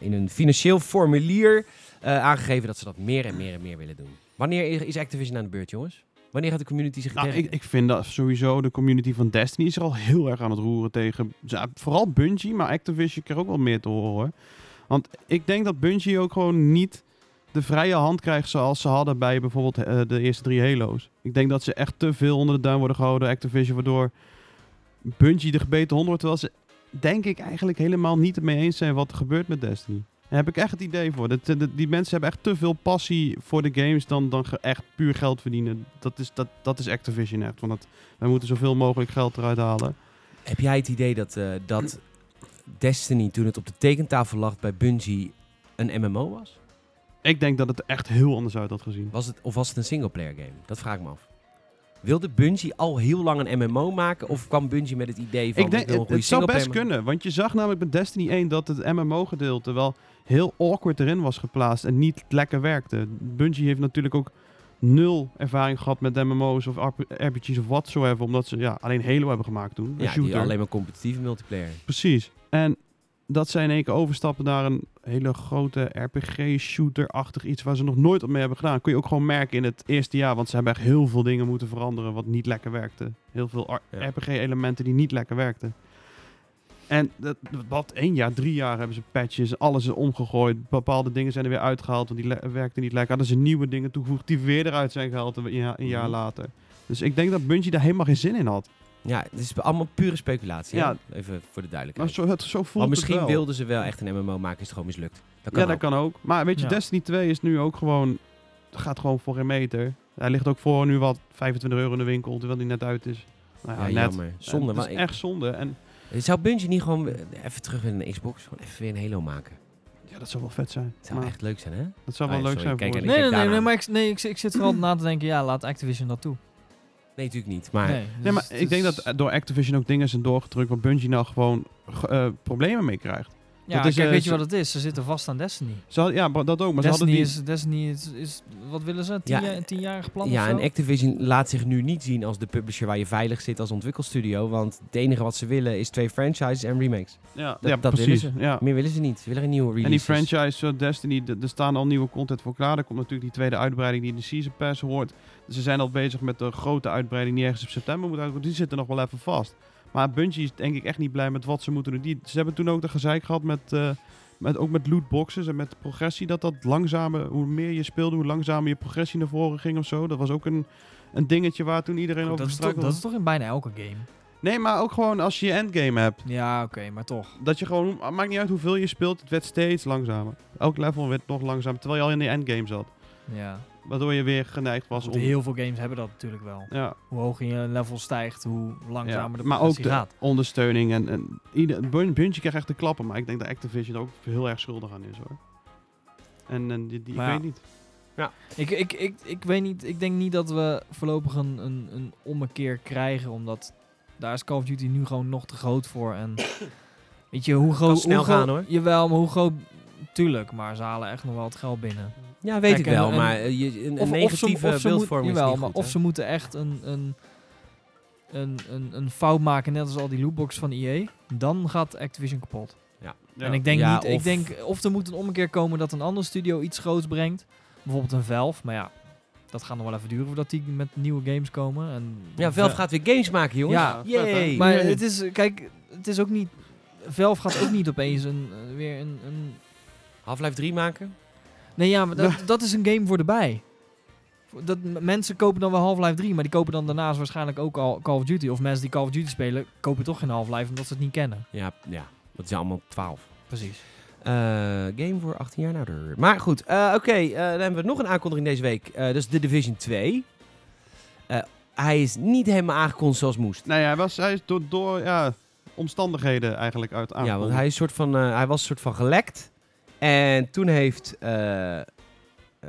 S1: in een financieel formulier eh, aangegeven dat ze dat meer en meer en meer willen doen. Wanneer is Activision aan de beurt, jongens? Wanneer gaat de community zich
S2: Nou,
S1: tegen-
S2: ik, ik vind dat sowieso de community van Destiny is er al heel erg aan het roeren tegen. Ja, Vooral Bungie, maar Activision krijgt ook wel meer te horen. hoor. Want ik denk dat Bungie ook gewoon niet de vrije hand krijgt zoals ze hadden bij bijvoorbeeld eh, de eerste drie Halo's. Ik denk dat ze echt te veel onder de duim worden gehouden, Activision, waardoor Bungie de gebeten hond wordt. Terwijl ze, denk ik, eigenlijk helemaal niet het mee eens zijn wat er gebeurt met Destiny. Daar heb ik echt het idee voor. Dat, dat- die mensen hebben echt te veel passie voor de games dan, dan ge- echt puur geld verdienen. Dat is, dat, dat is Activision echt. Want dat, wij moeten zoveel mogelijk geld eruit halen.
S1: Heb jij het idee dat, eh, dat Destiny, toen het op de tekentafel lag bij Bungie, een MMO was?
S2: Ik denk dat het er echt heel anders uit had gezien.
S1: was het, of was het een singleplayer game? Dat vraag ik me af. Wilde Bungie al heel lang een MMO maken? Of kwam Bungie met het idee van...
S2: Ik denk,
S1: wil een
S2: het,
S1: goede
S2: het zou
S1: singleplayer
S2: best
S1: maken?
S2: kunnen. Want je zag namelijk bij Destiny 1 dat het MMO-gedeelte wel heel awkward erin was geplaatst. En niet lekker werkte. Bungie heeft natuurlijk ook nul ervaring gehad met MMO's of RP- RPG's of whatsoever. Omdat ze ja, alleen Halo hebben gemaakt toen. een
S1: Ja, die
S2: shooter.
S1: alleen maar competitieve multiplayer.
S2: Precies. En dat zij in één keer overstappen naar een hele grote RPG-shooter-achtig iets waar ze nog nooit op mee hebben gedaan. Kun je ook gewoon merken in het eerste jaar, want ze hebben echt heel veel dingen moeten veranderen wat niet lekker werkte. Heel veel ar-
S1: Ja.
S2: RPG-elementen die niet lekker werkten. En dat, wat één jaar, drie jaar hebben ze patches, alles is omgegooid. Bepaalde dingen zijn er weer uitgehaald, want die le- werkten niet lekker. Hadden ze nieuwe dingen toegevoegd die weer eruit zijn gehaald een, ja- een jaar
S1: Mhm.
S2: later. Dus ik denk dat Bungie daar helemaal geen zin in had.
S1: Ja, het is allemaal pure speculatie.
S2: Ja.
S1: hè? Even voor de
S2: Maar
S1: duidelijkheid.
S2: zo, het, zo voelt
S1: Maar
S2: het
S1: misschien
S2: wel.
S1: wilden ze wel echt een MMO maken, is het gewoon mislukt. Dat kan
S2: ja,
S1: ook.
S2: dat kan ook. Maar weet je,
S3: Ja.
S2: Destiny 2 is nu ook gewoon... gaat gewoon voor een meter. Hij ligt ook voor nu wat 25 euro in de winkel, terwijl hij net uit is. Nou ja,
S1: Ja,
S2: net.
S1: jammer. Zonde.
S2: Het
S1: Maar
S2: is
S1: ik-
S2: echt zonde. En
S1: Zou Bungie niet gewoon eh, even terug in een Xbox? Gewoon even weer een Halo maken.
S2: ja, dat zou wel vet zijn.
S1: Het zou
S2: Maar
S1: echt leuk zijn, hè?
S2: dat zou
S1: Ah,
S2: wel
S1: ja,
S2: leuk
S1: sorry,
S2: zijn
S1: kijk,
S2: voor
S1: en
S2: ze.
S1: ik-
S3: Nee, nee,
S1: denk
S3: nee,
S1: daaraan.
S3: nee, maar ik, nee, ik, ik zit vooral na te denken, ja, laat Activision dat toe.
S1: Nee, natuurlijk niet. Maar
S3: Nee, dus
S2: Nee, maar
S3: het
S2: ik denk
S3: is-
S2: dat eh, door Activision ook dingen zijn doorgedrukt... waar Bungie nou gewoon ge- eh, problemen mee krijgt.
S3: Ja,
S2: dat is,
S3: kijk,
S2: eh,
S3: weet je
S2: ze-
S3: wat het is? Ze zitten vast aan Destiny.
S2: Ze hadden- ja, maar dat ook. Maar ze
S3: Destiny,
S2: hadden die...
S3: is, Destiny is, is, wat willen ze? Tien
S1: Ja,
S3: jaar, een tienjarig plan
S1: Ja,
S3: of zo?
S1: en Activision laat zich nu niet zien als de publisher waar je veilig zit als ontwikkelstudio. Want het enige wat ze willen is twee franchises en remakes.
S2: ja,
S1: dat-
S2: ja,
S1: dat willen
S2: precies.
S1: ze.
S2: Ja.
S1: Meer willen ze niet. Ze willen geen nieuwe
S2: En die
S1: releases.
S2: franchise eh, Destiny, d- er staan al nieuwe content voor klaar. Er komt natuurlijk die tweede uitbreiding die in de Season Pass hoort. Dus Ze zijn al bezig met de grote uitbreiding die ergens op september moet uitkomen. Die zitten nog wel even vast. Maar Bungie is denk ik echt niet blij met wat ze moeten doen. Die, ze hebben toen ook de gezeik gehad met, eh, met, ook met lootboxes en met progressie. Dat dat langzamer, hoe meer je speelde, hoe langzamer je progressie naar voren ging of zo. Dat was ook een, een dingetje waar toen iedereen
S3: Goed,
S2: over
S3: dat, is toch,
S2: gestruikeld
S3: dat is toch in bijna elke game?
S2: was. Nee, maar ook gewoon als je je endgame hebt.
S3: Ja, oké, maar toch.
S2: Dat je gewoon, ah, maakt niet uit hoeveel je speelt, het werd steeds langzamer. Elk level werd nog langzamer, terwijl je al in de endgame zat.
S3: Ja.
S2: Waardoor je weer geneigd was
S3: Goed,
S2: om...
S3: Heel veel games hebben dat natuurlijk wel.
S2: Ja,
S3: Hoe hoger je level stijgt, hoe langzamer
S2: ja.
S3: de
S2: maar ook
S3: progressie
S2: de
S3: gaat.
S2: ondersteuning en... en ieder, Bun- Bungie krijgt echt de klappen, maar ik denk dat Activision er ook heel erg schuldig aan is hoor. En, en die, die-
S3: Maar
S2: ik
S3: ja.
S2: weet niet.
S1: Ja.
S3: Ik, ik, ik, ik weet niet, ik denk niet dat we voorlopig een, een, een ommekeer krijgen, omdat daar is Call of Duty nu gewoon nog te groot voor. En weet je, hoe groot...
S1: snel
S3: hoe groot-
S1: gaan, hoor.
S3: Jawel, maar hoe groot... Tuurlijk, maar ze halen echt nog wel het geld binnen.
S1: Ja, weet
S3: Kijk,
S1: ik wel,
S3: en- en-
S1: maar eh, je, een, een
S3: of
S1: negatieve
S3: of ze
S1: beeldvorming
S3: jawel,
S1: is niet
S3: maar
S1: goed.
S3: Of
S1: hè?
S3: ze moeten echt een, een, een, een, een fout maken, net als al die lootbox van EA. Dan gaat Activision kapot. En ik denk
S1: Ja,
S3: niet,
S1: of-
S3: ik denk, of er moet een ommekeer komen dat een andere studio iets groots brengt. Bijvoorbeeld een Valve, maar ja, dat gaat nog wel even duren voordat die met nieuwe games komen. En
S1: Ja, Valve gaat weer games maken, jongens.
S3: Ja,
S2: vet, hè?
S1: Yay. eh,
S3: Maar
S2: Nee.
S3: het is, kijk, het is ook niet, Valve gaat ook niet opeens een, eh, weer een, een...
S1: Half-Life 3 maken?
S3: Nee ja, maar dat, dat is een game voor de bij. Dat, m- mensen kopen dan wel Half-Life 3, maar die kopen dan daarnaast waarschijnlijk ook al Call of Duty. Of mensen die Call of Duty spelen, kopen toch geen Half-Life omdat ze het niet kennen.
S1: Ja, ja. Dat is allemaal 12.
S3: Precies.
S1: Eh, game voor 18 jaar en ouder. Maar goed, eh, oké. eh, dan hebben we nog een aankondiging deze week. Eh, dat is The Division 2. Eh, hij is niet helemaal aangekondigd zoals moest.
S2: Nou ja, hij, was, hij is door, door ja, omstandigheden eigenlijk uit aan.
S1: Ja, want hij, is soort van, eh, hij was soort van gelekt. En toen heeft eh,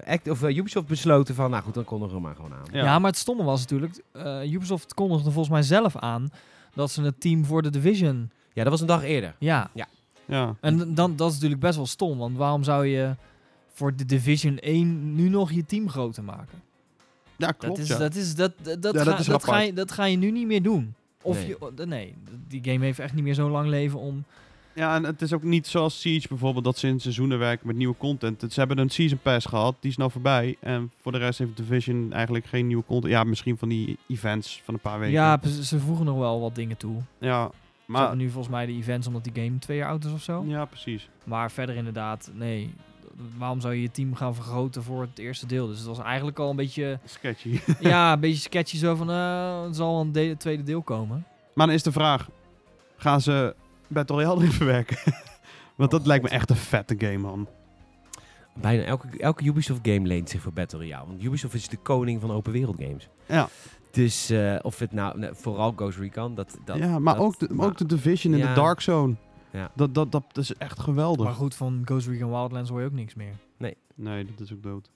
S1: Act, of, eh, Ubisoft besloten van... Nou goed, dan kondigen we hem maar gewoon aan.
S3: Ja. maar het stomme was natuurlijk, eh, Ubisoft kondigde volgens mij zelf aan dat ze het team voor de Division.
S1: Ja, dat was een dag eerder.
S3: Ja,
S2: ja.
S3: en dan, dat is natuurlijk best wel stom, want waarom zou je voor de Division 1 nu nog je team groter maken?
S2: Ja, klopt.
S3: Dat is,
S2: ja.
S3: dat is, dat, dat, dat,
S2: Ja,
S3: ga,
S2: dat is
S3: dat ga
S2: apart.
S3: je, dat ga je nu niet meer doen. Of
S1: Nee.
S3: nee. Je, nee, die game heeft echt niet meer zo lang leven om.
S2: Ja, en het is ook niet zoals Siege bijvoorbeeld, dat ze in seizoenen werken met nieuwe content. Ze hebben een season pass gehad, die is nou voorbij. En voor de rest heeft Division eigenlijk geen nieuwe content. Ja, misschien van die events van een paar weken.
S3: Ja, precies, ze voegen nog wel wat dingen toe.
S2: ja
S3: Ze hebben
S2: maar...
S3: nu volgens mij de events omdat die game twee jaar oud is of zo.
S2: Ja, precies.
S3: Maar verder inderdaad, nee. Waarom zou je je team gaan vergroten voor het eerste deel? Dus het was eigenlijk al een beetje,
S2: Sketchy.
S3: ja, een beetje sketchy zo van, eh er zal een de- tweede deel komen.
S2: maar dan is de vraag, gaan ze Battle Royale erin verwerken? Want
S1: Oh,
S2: dat lijkt me echt een vette game, man.
S1: Bijna elke, elke Ubisoft game leent zich voor Battle Royale. Want Ubisoft is de koning van open wereld games.
S2: Ja.
S1: Dus eh, of het nou, nou, vooral Ghost Recon, dat... dat
S2: ja, maar
S1: dat-
S2: ook, de,
S1: maar-
S2: ook de Division in
S1: Ja.
S2: de Dark Zone.
S1: Ja.
S2: Dat, dat, dat is echt geweldig.
S3: Maar goed, van Ghost Recon Wildlands hoor je ook niks meer.
S2: Nee, dat is ook dood.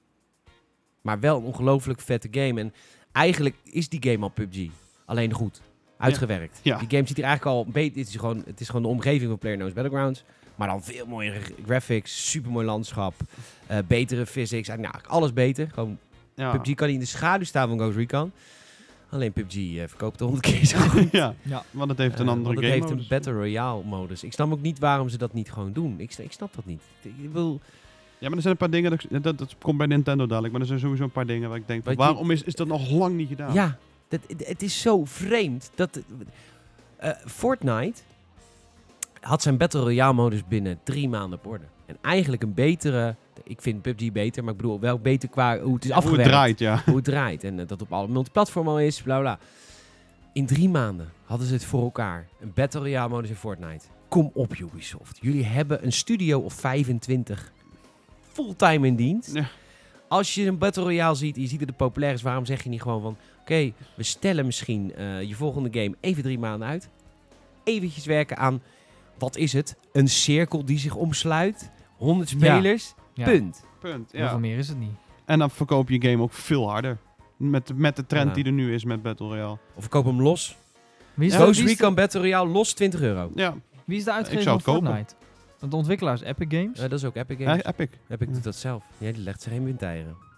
S1: Maar wel een ongelooflijk vette game. En eigenlijk is die game al PUBG. Alleen goed. Uitgewerkt.
S2: Ja.
S1: Die game ziet er eigenlijk al beter. Het is gewoon, het is gewoon de omgeving van PlayerUnknown's Battlegrounds. Maar dan veel mooiere g- graphics, supermooi landschap, eh, betere physics. Eigenlijk, nou, eigenlijk alles beter. Gewoon,
S2: Ja.
S1: PUBG kan niet in de schaduw staan van Ghost Recon. Alleen PUBG eh, verkoopt honderd keer zo goed.
S2: ja.
S3: Ja.
S2: want het heeft een
S1: Eh,
S2: andere
S1: want het
S2: game.
S1: heeft een
S2: modus.
S1: Battle Royale modus. Ik snap ook niet waarom ze dat niet gewoon doen. Ik, sn- ik snap dat niet. Ik wil,
S2: Ja, maar er zijn een paar dingen, dat, ik- dat, dat komt bij Nintendo dadelijk, maar er zijn sowieso een paar dingen waar ik denk, van,
S1: Wat je-
S2: waarom is, is dat nog lang niet gedaan?
S1: Ja, dat, het- het is zo vreemd dat... eh, Fortnite had zijn Battle Royale-modus binnen drie maanden op orde. En eigenlijk een betere... Ik vind PUBG beter, maar ik bedoel wel beter qua hoe het is
S2: Hoe
S1: afgewerkt.
S2: het draait, ja.
S1: Hoe het draait. En eh, dat op alle multiplatform al is, bla bla. In drie maanden hadden ze het voor elkaar. Een Battle Royale-modus in Fortnite. Kom op Ubisoft. Jullie hebben een studio of 25 fulltime in dienst
S2: ja.
S1: als je een Battle Royale ziet en je ziet dat het populair is, waarom zeg je niet gewoon van... Oké, we stellen misschien eh, je volgende game even drie maanden uit. Eventjes werken aan, wat is het? Een cirkel die zich omsluit. 100
S3: Ja.
S1: spelers,
S3: Ja.
S1: punt.
S2: Punt,
S3: Heel veel
S2: ja.
S3: meer is het niet.
S2: En dan verkoop je game ook veel harder. Met, met de trend
S1: Ja.
S2: die er nu is met Battle Royale.
S1: Of ik koop hem los.
S3: Wie is,
S1: Ghost
S3: wie is, de,
S1: Recon Battle Royale, los 20 euro.
S2: Ja,
S3: wie is de uitgever
S2: Ik zou
S3: van
S2: het kopen.
S3: Fortnite? Want de ontwikkelaars Epic Games.
S1: Eh, dat is ook Epic
S2: ja,
S1: Games.
S2: epic.
S1: Epic doet dat zelf. Ja, die legt zich geen windeieren.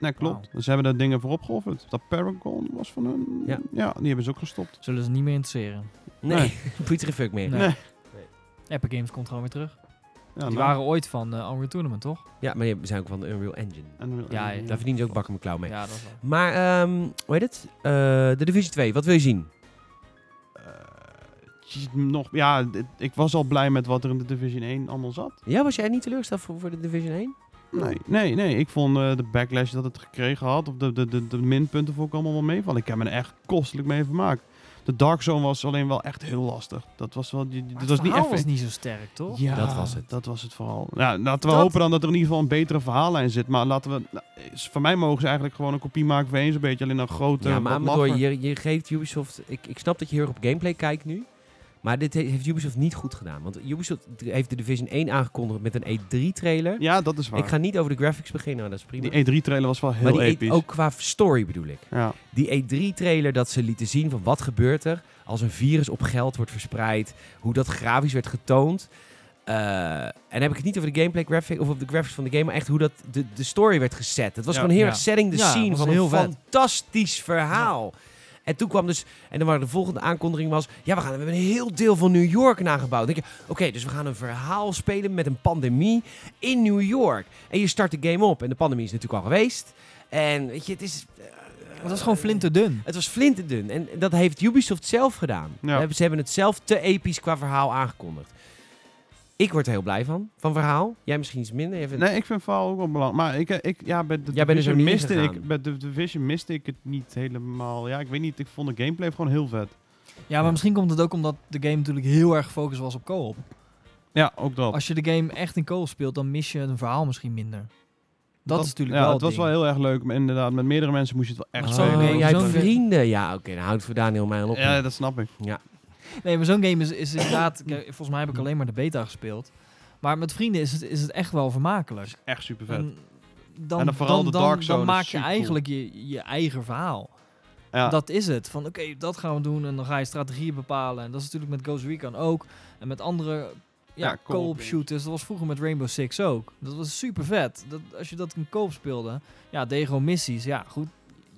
S2: Nee, klopt. Ze hebben daar dingen voor opgeofferd. Dat Paragon was van hun.
S1: Ja.
S2: Ja. die hebben ze ook gestopt.
S3: Zullen ze niet meer interesseren.
S1: Nee,
S2: Nee.
S1: boeit er een fuck meer.
S3: Nee.
S2: Nee.
S3: Epic Games komt gewoon weer terug.
S2: Ja, nou.
S3: Die waren ooit van eh Unreal Tournament, toch?
S1: Ja, maar we zijn ook van de Unreal Engine.
S2: eh,
S3: Ja,
S1: Daar verdienen ze ook bakken mijn klauw mee.
S3: Ja, dat is wel.
S1: Maar, ehm, hoe heet het? Eh, de Division 2, wat wil je zien?
S2: nog, ja, dit- ik was al blij met wat er in de Division 1 allemaal zat.
S1: Ja, was jij niet teleurgesteld voor, voor de Division 1?
S2: Nee, nee, nee. Ik vond eh, de backlash dat het gekregen had, of de, de, de, de minpunten vond ik allemaal wel meevallen. Ik heb me er echt kostelijk mee vermaakt. De Dark Zone was alleen wel echt heel lastig. Dat was wel, die- die- dat was niet
S3: verhaal
S2: even...
S3: was niet zo sterk, toch?
S2: Ja,
S1: Dat was het.
S2: Dat was het vooral. Ja, laten we
S3: Dat-
S2: hopen dan dat er in ieder geval een betere verhaallijn zit. Maar laten we... Nou, is- voor mij mogen ze eigenlijk gewoon een kopie maken van één zo'n beetje. Alleen een grote...
S1: Ja, maar
S2: wat
S1: Amador,
S2: laffer.
S1: je, je geeft Ubisoft... Ik, ik snap dat je heel erg op gameplay kijkt nu. Maar dit he- heeft Ubisoft niet goed gedaan. Want Ubisoft heeft de Division 1 aangekondigd met een E3-trailer.
S2: Ja, dat is waar.
S1: ik ga niet over de graphics beginnen, maar dat is prima.
S2: Die E3-trailer was wel
S1: maar
S2: heel
S1: die E-
S2: episch.
S1: ook qua story bedoel ik.
S2: Ja.
S1: Die E3-trailer dat ze lieten zien van wat gebeurt er als een virus op geld wordt verspreid. Hoe dat grafisch werd getoond. Eh, en dan heb ik het niet over de gameplay graphic of op de graphics van de game, maar echt hoe dat de, de story werd gezet. Het was
S2: Ja,
S1: gewoon heel
S3: ja.
S1: erg setting the
S3: Ja,
S1: scene
S3: was
S1: van
S3: heel
S1: een
S3: vet.
S1: fantastisch verhaal. En toen kwam dus, en dan waren de volgende aankondiging was, ja we, gaan, we hebben een heel deel van New York nagebouwd. Dan denk je, oké, dus we gaan een verhaal spelen met een pandemie in New York. En je start de game op en de pandemie is natuurlijk al geweest. En weet je, het is... eh,
S3: Dat is gewoon flinterdun.
S1: het was flinterdun. En dat heeft Ubisoft zelf gedaan.
S2: Ja.
S1: Hebben- Ze hebben het zelf te episch qua verhaal aangekondigd. Ik word er heel blij van, van verhaal. Jij misschien iets minder. Jij vindt-
S2: Nee, ik vind verhaal ook wel belangrijk. Maar ik, eh, ik, ja, bij de
S1: Jij bent er zo
S2: Division
S1: niet
S2: miste
S1: ingegaan.
S2: ik, bij de Division miste ik het niet helemaal. Ja, ik weet niet. Ik vond de gameplay gewoon heel vet.
S3: Ja, maar misschien komt het ook omdat de game natuurlijk heel erg gefocust was op co-op.
S2: Ja, ook dat.
S3: Als je de game echt in co-op speelt, dan mis je een verhaal misschien minder. Dat, is natuurlijk
S2: ja,
S3: wel
S2: het was wel heel erg leuk. Maar inderdaad, met meerdere mensen moest je het wel echt
S3: Oh,
S1: Oh,
S2: spelen.
S3: nee,
S1: jij hebt
S3: zo'n-
S1: vrienden. Ja, oké. dan houdt voor Daniel mij al op.
S2: Ja, dat snap ik.
S3: Nee, maar zo'n game is, is inderdaad... kijk, volgens mij heb
S2: Mm.
S3: ik alleen maar de beta gespeeld. Maar met vrienden is het, is het echt wel vermakelijk.
S2: Echt super vet.
S3: En dan,
S2: En dan vooral de Dark Zone is
S3: dan maak je
S2: supercool.
S3: eigenlijk je, je eigen verhaal.
S2: ja.
S3: Dat is het. Van oké, dat gaan we doen. En dan ga je strategieën bepalen. En dat is natuurlijk met Ghost Recon ook. En met andere
S2: Ja,
S3: ja,
S2: co-op
S3: co-op
S2: games.
S3: shooters. Dat was vroeger met Rainbow Six ook. Dat was super vet. Dat, als je dat in co-op speelde. Ja, Dego missies. Ja, goed.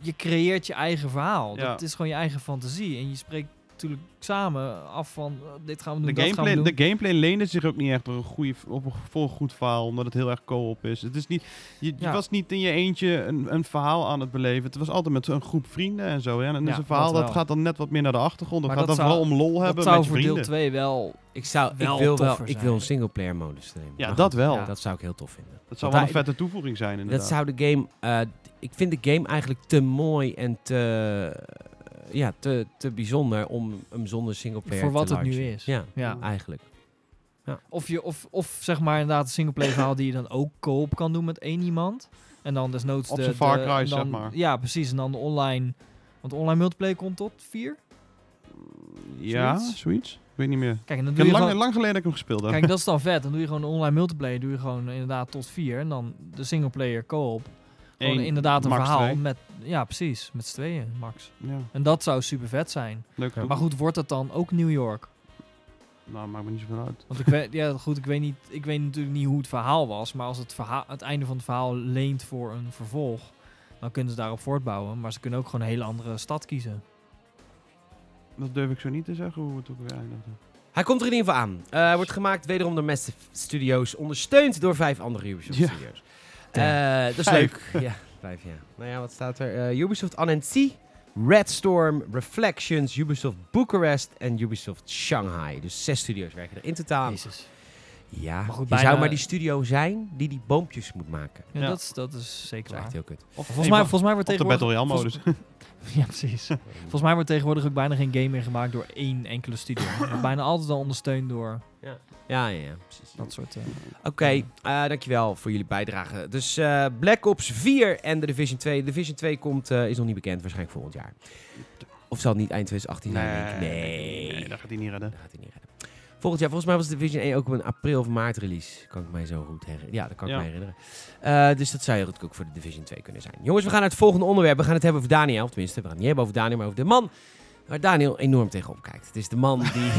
S3: Je creëert je eigen verhaal.
S2: Ja.
S3: Dat is gewoon je eigen fantasie. En je spreekt natuurlijk samen af van eh, dit gaan we doen,
S2: De
S3: dat gaan we
S2: gameplay,
S3: doen.
S2: de gameplay leende zich ook niet echt op een, goede, op een vol goed verhaal, omdat het heel erg co-op is. Het is niet, je, je
S3: Ja.
S2: was niet in je eentje een, een verhaal aan het beleven. Het was altijd met een groep vrienden en zo. Ja. En dan
S3: Ja,
S2: is een verhaal
S3: dat
S2: dat,
S3: wel.
S2: gaat dan net wat meer naar de achtergrond. Dat
S3: Maar
S2: gaat
S3: dat
S2: dan
S3: zou-
S2: vooral om lol
S3: dat
S2: hebben
S3: zou
S2: met je
S3: voor deel
S2: vrienden.
S3: 2 wel...
S1: Ik, zou, ik
S3: Wel
S1: wil wel
S3: toffer
S1: ik
S3: zijn.
S1: wil een singleplayer modus streamen.
S2: Ja,
S1: Maar
S2: dat
S1: goed,
S2: wel.
S3: ja.
S1: Dat zou ik heel tof vinden.
S2: Dat zou wel
S1: Want
S2: een vette toevoeging zijn inderdaad.
S1: Dat zou de game... eh, ik vind de game eigenlijk te mooi en te... eh, ja, te, te bijzonder om hem zonder singleplayer
S3: Voor
S1: te
S3: wat het nu
S1: launchen.
S3: is.
S1: Ja,
S3: Ja.
S1: eigenlijk.
S3: Of, je, of, of zeg maar inderdaad een singleplayer verhaal die je dan ook co-op kan doen met één iemand. En dan desnoods
S2: Op
S3: de...
S2: zijn Far
S3: de-
S2: Cry's,
S3: dan-
S2: zeg maar.
S3: Ja, precies. En dan de online... Want online multiplayer komt tot vier.
S2: Ja,
S3: zoiets?
S2: zoiets. Ik weet niet meer.
S3: Kijk, en dan
S2: Ik
S3: doe
S2: heb
S3: je
S2: lang,
S3: gewoon-
S2: lang geleden dat ik hem gespeeld heb.
S3: Kijk, dat is dan vet. Dan doe je gewoon online multiplayer. Doe je gewoon inderdaad tot vier. En dan de singleplayer co-op. Gewoon
S2: Eén,
S3: inderdaad een
S2: max
S3: verhaal
S2: twee.
S3: met... Ja, precies. Met z'n tweeën, max.
S2: Ja,
S3: En dat zou super vet zijn.
S2: leuk.
S3: Maar goed, wordt dat dan ook New York?
S2: Nou, maakt me niet zoveel uit.
S3: Want ik weet, ja, goed, ik weet, niet, ik weet natuurlijk niet hoe het verhaal was. Maar als het, verhaal, het einde van het verhaal leent voor een vervolg, dan kunnen ze daarop voortbouwen. Maar ze kunnen ook gewoon een hele andere stad kiezen.
S2: Dat durf ik zo niet te zeggen hoe het ook weer eindigde.
S1: Hij komt er in ieder geval aan. Eh, Hij wordt gemaakt wederom door Massive Studios, ondersteund door vijf andere Ubisoft
S2: Ja.
S1: Studios. Eh, dat is
S2: Vijf.
S1: leuk. Ja, vijf, ja. Nou ja, wat staat er? Eh, Ubisoft Annecy, Red Storm, Reflections, Ubisoft Bucharest en Ubisoft Shanghai. Dus zes studio's werken er in totaal aan.
S3: Jezus.
S1: Ja,
S3: Maar goed,
S1: je
S3: bijna-
S1: zou maar die studio zijn die die boompjes moet maken.
S3: Ja,
S2: Ja.
S3: Dat, is, dat is
S1: Dat
S3: zeker
S1: is echt
S3: waar.
S1: heel kut.
S2: Of,
S3: Volgens mij, volgens mij wordt
S2: op de
S3: tegenwoordig...
S2: Battle Royale modus.
S3: volgens- ja, precies. volgens mij wordt tegenwoordig ook bijna geen game meer gemaakt door één enkele studio. Het wordt bijna altijd al ondersteund door
S1: Ja, ja, ja, precies.
S3: dat soort... eh,
S1: Oké, eh, dankjewel voor jullie bijdrage. Dus eh, Black Ops 4 en de Division 2. De Division 2 komt, eh, is nog niet bekend, waarschijnlijk volgend jaar. Of zal het niet eind 2018 zijn? denk ik? nou Nee.
S2: nee, dat gaat hij niet redden.
S1: Dat gaat hij niet redden. Volgend jaar, volgens mij was de Division 1 ook een april of maart release. Kan ik mij zo goed herinneren. Ja, dat kan ik
S2: Ja.
S1: me herinneren. Eh, dus dat zou heel goed ook voor de Division 2 kunnen zijn. Jongens, we gaan naar het volgende onderwerp. We gaan het hebben over Daniel. Tenminste, we gaan het niet hebben over Daniel, maar over de man waar Daniel enorm tegenop kijkt. Het is de man die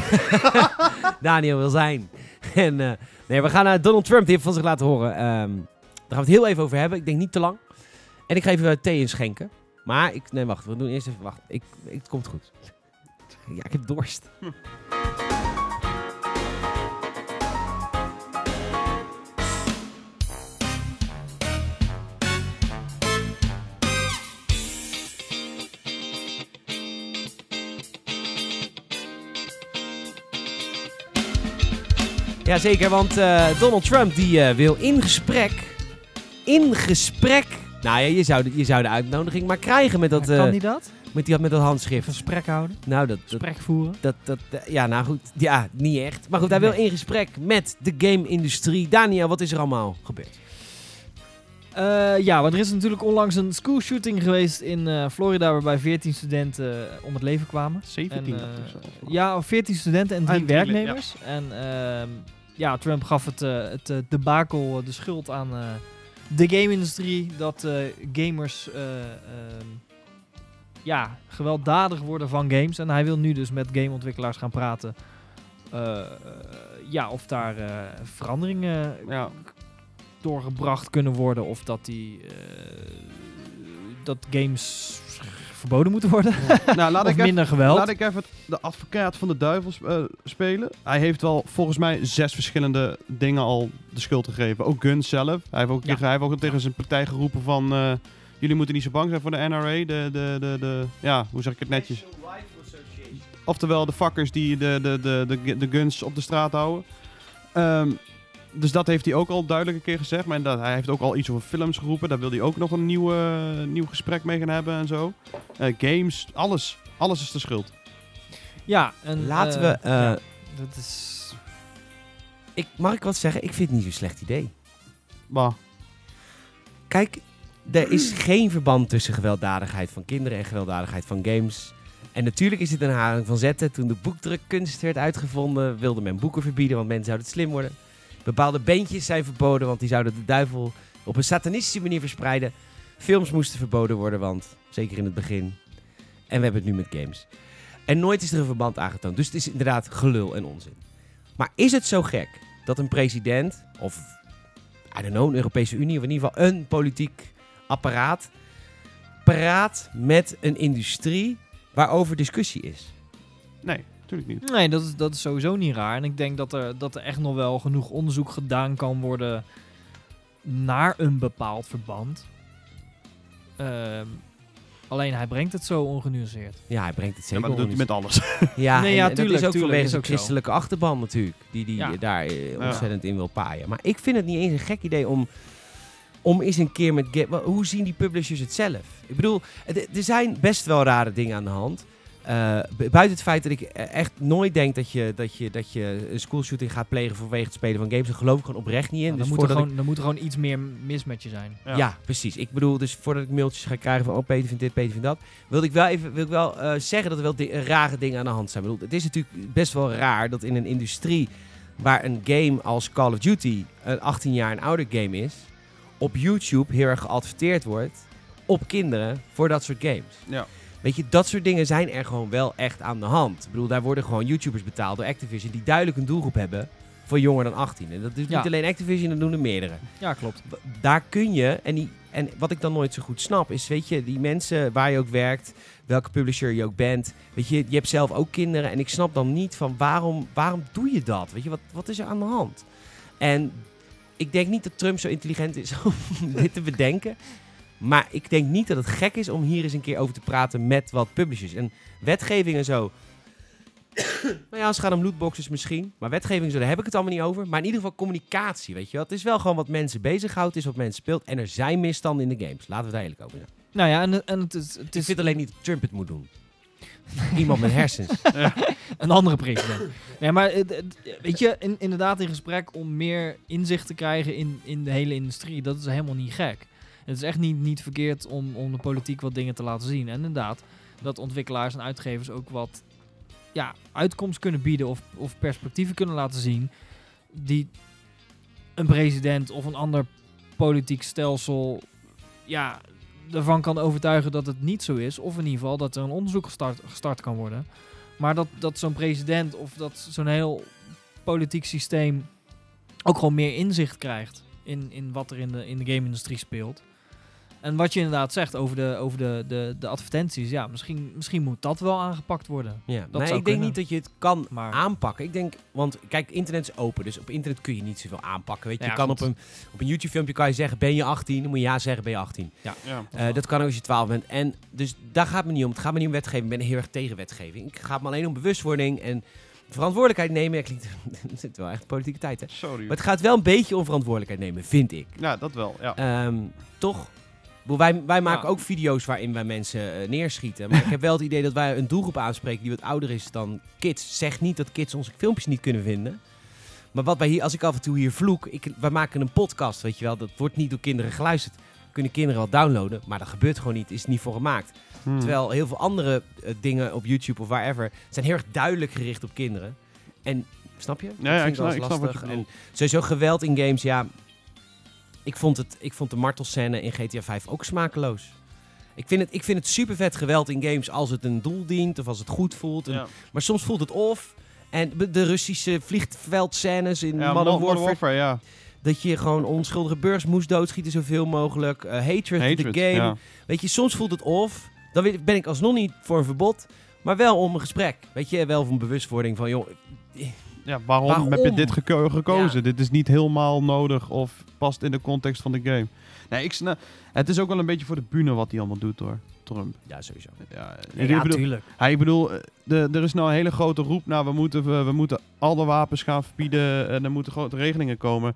S1: Daniel wil zijn. En eh, nee, we gaan naar Donald Trump. Die heeft van zich laten horen. Ehm, daar gaan we het heel even over hebben. Ik denk niet te lang. En ik ga even eh, thee inschenken. Maar ik... Nee, wacht. We doen eerst even... Wacht. Ik, ik- het komt goed. Ja, ik heb dorst. Jazeker, want eh, Donald Trump die eh, wil in gesprek... In gesprek... Nou ja, je zou, de- je zou de uitnodiging maar krijgen met dat,
S3: maar
S1: eh,
S3: kan die dat?
S1: met die, met dat
S3: Even een
S1: handschrift.
S3: gesprek houden?
S1: Nou, dat, dat,
S3: Gesprek voeren?
S1: dat, dat, eh, ja, nou goed. Ja, niet echt. Maar goed, hij wil
S3: Nee.
S1: in gesprek met de game-industrie. Daniel, wat is er allemaal gebeurd?
S3: Eh, ja, want er is natuurlijk onlangs een school shooting geweest in eh, Florida waarbij 14 studenten eh, om het leven kwamen.
S2: 17
S3: En, eh,
S2: dacht ik zelfs.
S3: Ja, of 14 studenten en drie
S2: en drie lid-
S3: werknemers. En ehm, ja, Trump gaf het, eh het eh, debakel eh, de schuld aan eh, de game-industrie. Dat eh, gamers eh, ehm, ja, gewelddadig worden van games. En hij wil nu dus met gameontwikkelaars gaan praten. eh, eh, ja, of daar eh, veranderingen
S2: Ja.
S3: doorgebracht kunnen worden. Of dat die... eh, dat games verboden moeten worden.
S2: nou, laat
S3: of
S2: ik even
S3: minder geweld.
S2: Laat ik even de advocaat van de duivel sp- eh, spelen. Hij heeft wel volgens mij zes verschillende dingen al de schuld gegeven. Ook Guns zelf. Hij heeft ook,
S3: Ja.
S2: tegen, hij heeft ook tegen zijn partij geroepen van... eh, jullie moeten niet zo bang zijn voor de NRA. De, de, de, de, ja, hoe zeg ik het netjes? Oftewel de fuckers die de, de, de, de, de guns op de straat houden. Ehm, dus dat heeft hij ook al duidelijk een keer gezegd. Maar inderdaad, hij heeft ook al iets over films geroepen. Daar wil hij ook nog een nieuw, eh, nieuw gesprek mee gaan hebben en zo. Eh, games, alles. Alles is de schuld.
S3: Ja, en,
S1: Laten
S3: eh,
S1: we... eh,
S3: ja, dat is...
S1: ik, mag ik wat zeggen? Ik vind het niet zo'n slecht idee.
S2: Maar
S1: Kijk, er is geen verband tussen gewelddadigheid van kinderen en gewelddadigheid van games. En natuurlijk is dit een herhaling van zetten. Toen de boekdrukkunst werd uitgevonden, wilde men boeken verbieden, want mensen zouden het slim worden. Bepaalde bandjes zijn verboden, want die zouden de duivel op een satanistische manier verspreiden. Films moesten verboden worden, want zeker in het begin. En we hebben het nu met games. En nooit is er een verband aangetoond. Dus het is inderdaad gelul en onzin. Maar is het zo gek dat een president of I don't know, een Europese Unie of in ieder geval een politiek apparaat. Praat met een industrie waarover discussie is.
S2: nee, natuurlijk niet.
S3: Nee, dat is, dat is sowieso niet raar. En ik denk dat er, dat er echt nog wel genoeg onderzoek gedaan kan worden naar een bepaald verband. Ehm, alleen hij brengt het zo ongenuanceerd.
S1: Ja, hij brengt het
S2: Ja,
S1: zeker
S2: maar dat doet hij
S1: onder-
S2: met alles.
S1: Ja,
S3: Nee,
S1: en-
S3: ja,
S1: en dat
S3: tuurlijk,
S1: is ook
S3: tuurlijk,
S1: vanwege
S3: is
S1: zijn
S3: ook zo.
S1: christelijke achterban natuurlijk. Die, die
S3: Ja.
S1: eh, daar eh,
S2: Ja.
S1: ontzettend in wil paaien. Maar ik vind het niet eens een gek idee om, om eens een keer met... ga- wa- Hoe zien die publishers het zelf? Ik bedoel, het- er zijn best wel rare dingen aan de hand. Eh, bu- buiten het feit dat ik eh, echt nooit denk dat je, dat je, dat je een schoolshooting gaat plegen vanwege het spelen van games. Daar geloof ik gewoon oprecht niet in.
S3: Nou, dan,
S1: dus
S3: moet er
S1: voordat ik-
S3: gewoon, dan moet er gewoon iets meer mis met je zijn.
S1: ja. precies. Ik bedoel, dus voordat ik mailtjes ga krijgen van... oh, Peter vindt dit, Peter vindt dat... wil ik wel even wil ik wel, eh, zeggen dat er wel di- rare dingen aan de hand zijn. Ik bedoel, het is natuurlijk best wel raar dat in een industrie... waar een game als Call of Duty een 18 jaar en ouder game is... op YouTube heel erg geadverteerd wordt op kinderen voor dat soort games.
S2: Ja.
S1: Weet je, dat soort dingen zijn er gewoon wel echt aan de hand. Ik bedoel, daar worden gewoon YouTubers betaald door Activision... die duidelijk een doelgroep hebben voor jonger dan 18. En dat doet
S3: Ja.
S1: niet alleen Activision, dat doen er meerdere
S3: Ja, klopt.
S1: daar kun je, en, die, en wat ik dan nooit zo goed snap, is weet je, die mensen waar je ook werkt, welke publisher je ook bent, weet je, je hebt zelf ook kinderen en ik snap dan niet van waarom, waarom doe je dat? Weet je, wat, wat is er aan de hand? En ik denk niet dat Trump zo intelligent is om dit te bedenken. Maar ik denk niet dat het gek is om hier eens een keer over te praten met wat publishers. En wetgeving en zo. nou ja, als het gaat om lootboxes misschien. Maar wetgeving en zo, daar heb ik het allemaal niet over. Maar in ieder geval communicatie, weet je wel. Het is wel gewoon wat mensen bezighoudt, het is wat mensen speelt. En er zijn misstanden in de games. Laten we het eigenlijk over zijn.
S3: Nou ja, en, en het is, het
S1: Het
S3: is
S1: zit alleen niet dat Trump het moet doen. Iemand met hersens.
S3: een andere president. nee, maar het- het- weet je, in- inderdaad in gesprek om meer inzicht te krijgen in, in de hele industrie, dat is helemaal niet gek. Het is echt niet, niet verkeerd om, om de politiek wat dingen te laten zien. En inderdaad, dat ontwikkelaars en uitgevers ook wat ja, uitkomst kunnen bieden of, of perspectieven kunnen laten zien die een president of een ander politiek stelsel ja, ervan kan overtuigen dat het niet zo is. Of in ieder geval dat er een onderzoek gestart, gestart kan worden. Maar dat, dat zo'n president of dat zo'n heel politiek systeem ook gewoon meer inzicht krijgt in, in wat er in de, in de game-industrie speelt. En wat je inderdaad zegt over de, over de, de, de advertenties, ja, misschien, misschien moet dat wel aangepakt worden.
S1: Ja,
S3: zou
S1: maar ik denk
S3: kunnen.
S1: niet dat je het kan
S3: Maar
S1: aanpakken. Ik denk, want kijk, internet is open, dus op internet kun je niet zoveel aanpakken. Weet je,
S3: Ja,
S1: je kan
S3: goed.
S1: op een, op een YouTube-filmpje kan je zeggen: ben je 18? Dan moet je ja zeggen: ben je 18?
S2: Ja.
S1: Eh, dat kan ook als je 12 bent. En dus daar gaat het me niet om. Het gaat me niet om wetgeving. Ik ben heel erg tegen wetgeving. Ik ga me alleen om bewustwording en verantwoordelijkheid nemen. Ja, klinkt, het zit wel echt politieke tijd, hè?
S2: Sorry.
S1: Maar het gaat wel een beetje om verantwoordelijkheid nemen, vind ik.
S2: Ja, dat wel. Ja.
S1: Ehm, toch? Ik bedoel, Wij, wij maken
S3: Ja.
S1: ook video's waarin wij mensen eh, neerschieten. Maar ik heb wel het idee dat wij een doelgroep aanspreken die wat ouder is dan kids. Zeg niet dat kids onze filmpjes niet kunnen vinden. Maar wat wij hier, als ik af en toe hier vloek, ik, wij maken een podcast, weet je wel. Dat wordt niet door kinderen geluisterd. Kunnen kinderen wel downloaden, maar dat gebeurt gewoon niet. Is niet voor gemaakt.
S2: Hmm.
S1: Terwijl heel veel andere eh, dingen op YouTube of wherever zijn heel erg duidelijk gericht op kinderen. En snap je? Dat
S2: ja,
S1: vind
S2: ik
S1: wel eens
S2: snap- ik snap wat je
S1: lastig.
S2: bedoelt.
S1: En sowieso geweld in games, ja. Ik vond, het, ik vond de martelscène in GTA 5 ook smakeloos. Ik vind, het, ik vind het super vet geweld in games als het een doel dient of als het goed voelt. En-
S2: Ja.
S1: Maar soms voelt het off. En be- de Russische vliegveldscènes in
S2: Ja,
S1: Modern
S2: Modern
S1: Warfare,
S2: Warfare, ja.
S1: Dat je gewoon onschuldige beurs moest doodschieten zoveel mogelijk. eh hatred, in
S2: Hatred,
S1: the game.
S2: ja.
S1: Weet je, soms voelt het off. Dan weet- ben ik alsnog niet voor een verbod. Maar wel om een gesprek. Weet je, wel voor een bewustwording van... joh,
S2: Ja, waarom,
S1: Waarom?
S2: heb je dit geko- gekozen?
S1: Ja.
S2: Dit is niet helemaal nodig of past in de context van de game. Nee, ik snap. Het is ook wel een beetje voor de bühne wat hij allemaal doet hoor, Trump.
S1: Ja, sowieso.
S2: Ja, ik
S3: Ja,
S2: bedoel,
S3: tuurlijk.
S2: hij, ik bedoel eh, de, er is nou een hele grote roep naar we moeten, we, we moeten alle wapens gaan verbieden eh, en er moeten grote regelingen komen.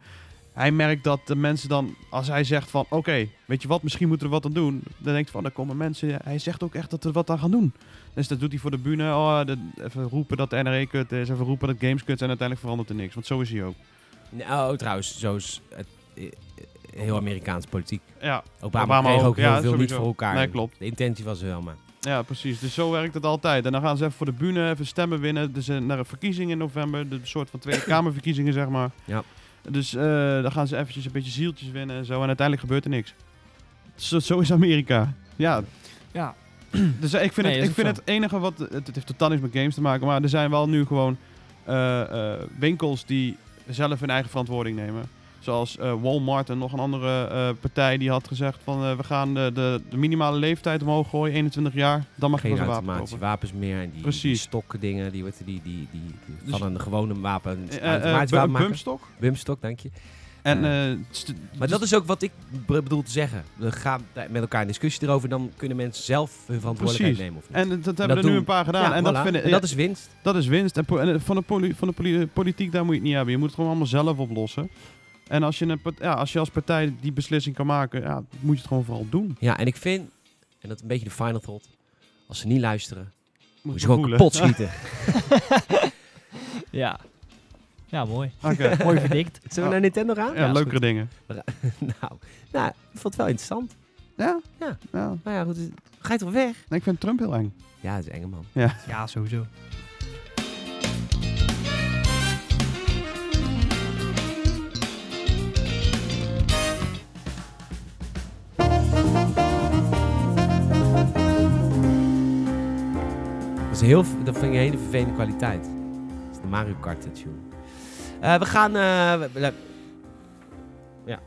S2: Hij merkt dat de mensen dan, als hij zegt van oké, weet je wat, misschien moeten we wat aan doen. Dan denkt van, daar komen mensen. Hij zegt ook echt dat we wat aan gaan doen. Dus dat doet hij voor de bühne. Oh, dat- even roepen dat de NRE kut is, even roepen dat games kut zijn. Uiteindelijk verandert er niks, want zo is hij ook.
S1: Nou, trouwens, zo is het eh, eh, heel Amerikaans politiek.
S2: Ja,
S1: Obama,
S2: Obama
S1: kreeg ook,
S2: ook,
S1: heel
S2: ja,
S1: veel niet
S2: sowieso.
S1: voor elkaar.
S2: Nee, klopt.
S1: De intentie was er wel, maar...
S2: ja, precies. Dus zo werkt het altijd. En dan gaan ze even voor de bühne even stemmen winnen. Dus eh, naar een verkiezing in november. De soort van Tweede Kamerverkiezingen, zeg maar.
S1: Ja.
S2: Dus eh, dan gaan ze eventjes een beetje zieltjes winnen en zo. En uiteindelijk gebeurt er niks. Zo, zo is Amerika. Ja.
S3: Ja.
S2: Dus eh, ik vind,
S3: Nee, is
S2: het, ik
S3: ook
S2: vind het
S3: zo.
S2: enige wat... Het, het heeft totaal niks met games te maken. Maar er zijn wel nu gewoon eh, eh, winkels die zelf hun eigen verantwoording nemen. Zoals eh, Walmart en nog een andere eh, partij die had gezegd van... eh, we gaan de, de, de minimale leeftijd omhoog gooien, 21 jaar. Dan mag je
S1: Geen
S2: pas een wapen kopen.
S1: automatische wapens meer. En die, die
S2: Precies.
S1: stokken dingen, die, die, die, die, die, die
S2: Dus-
S1: van een gewone wapen. Een
S2: Eh, eh,
S1: automatisch
S2: bu-
S1: wapen
S2: een
S1: maken.
S2: pumpstok.
S1: Bumstok, dank je.
S2: En,
S1: Ja.
S2: eh, st-
S1: Maar dat is ook wat ik b- bedoel te zeggen. We gaan daar met elkaar in discussie erover. Dan kunnen mensen zelf hun verantwoordelijkheid
S2: Precies.
S1: nemen of niet.
S2: en dat hebben er
S1: doen-
S2: nu een paar gedaan. en, dat
S1: voilà.
S2: vinden,
S1: En dat is winst.
S2: Dat is winst. En, po- en, eh, van de, poli- van de poli- eh, politiek, daar moet je het niet hebben. Je moet het gewoon allemaal zelf oplossen. En als je, een part- ja, als je als partij die beslissing kan maken, ja, moet je het gewoon vooral doen.
S1: Ja, en ik vind, en dat is een beetje de final thought. Als ze niet luisteren,
S2: Moet
S1: moet
S2: je
S1: je gewoon
S2: voelen.
S1: kapot schieten.
S3: Ja. Ja, mooi.
S2: Oké.
S3: mooi verdikt.
S1: Zullen we naar Nintendo gaan?
S2: Oh. Ja,
S1: is
S2: leukere
S1: goed.
S2: dingen.
S1: nou, nou, ik vond het wel interessant.
S2: Ja?
S1: Ja.
S2: ja.
S1: Nou ja, goed. dus- Ga je toch weg?
S2: Nee, ik vind Trump heel eng.
S1: Ja, dat is enge man.
S3: Ja, sowieso.
S1: Dat, is heel, v- dat vind ik een hele vervelende kwaliteit. Dat is de Mario Kart eh, tune. Eh, we gaan... eh, we- we- ja.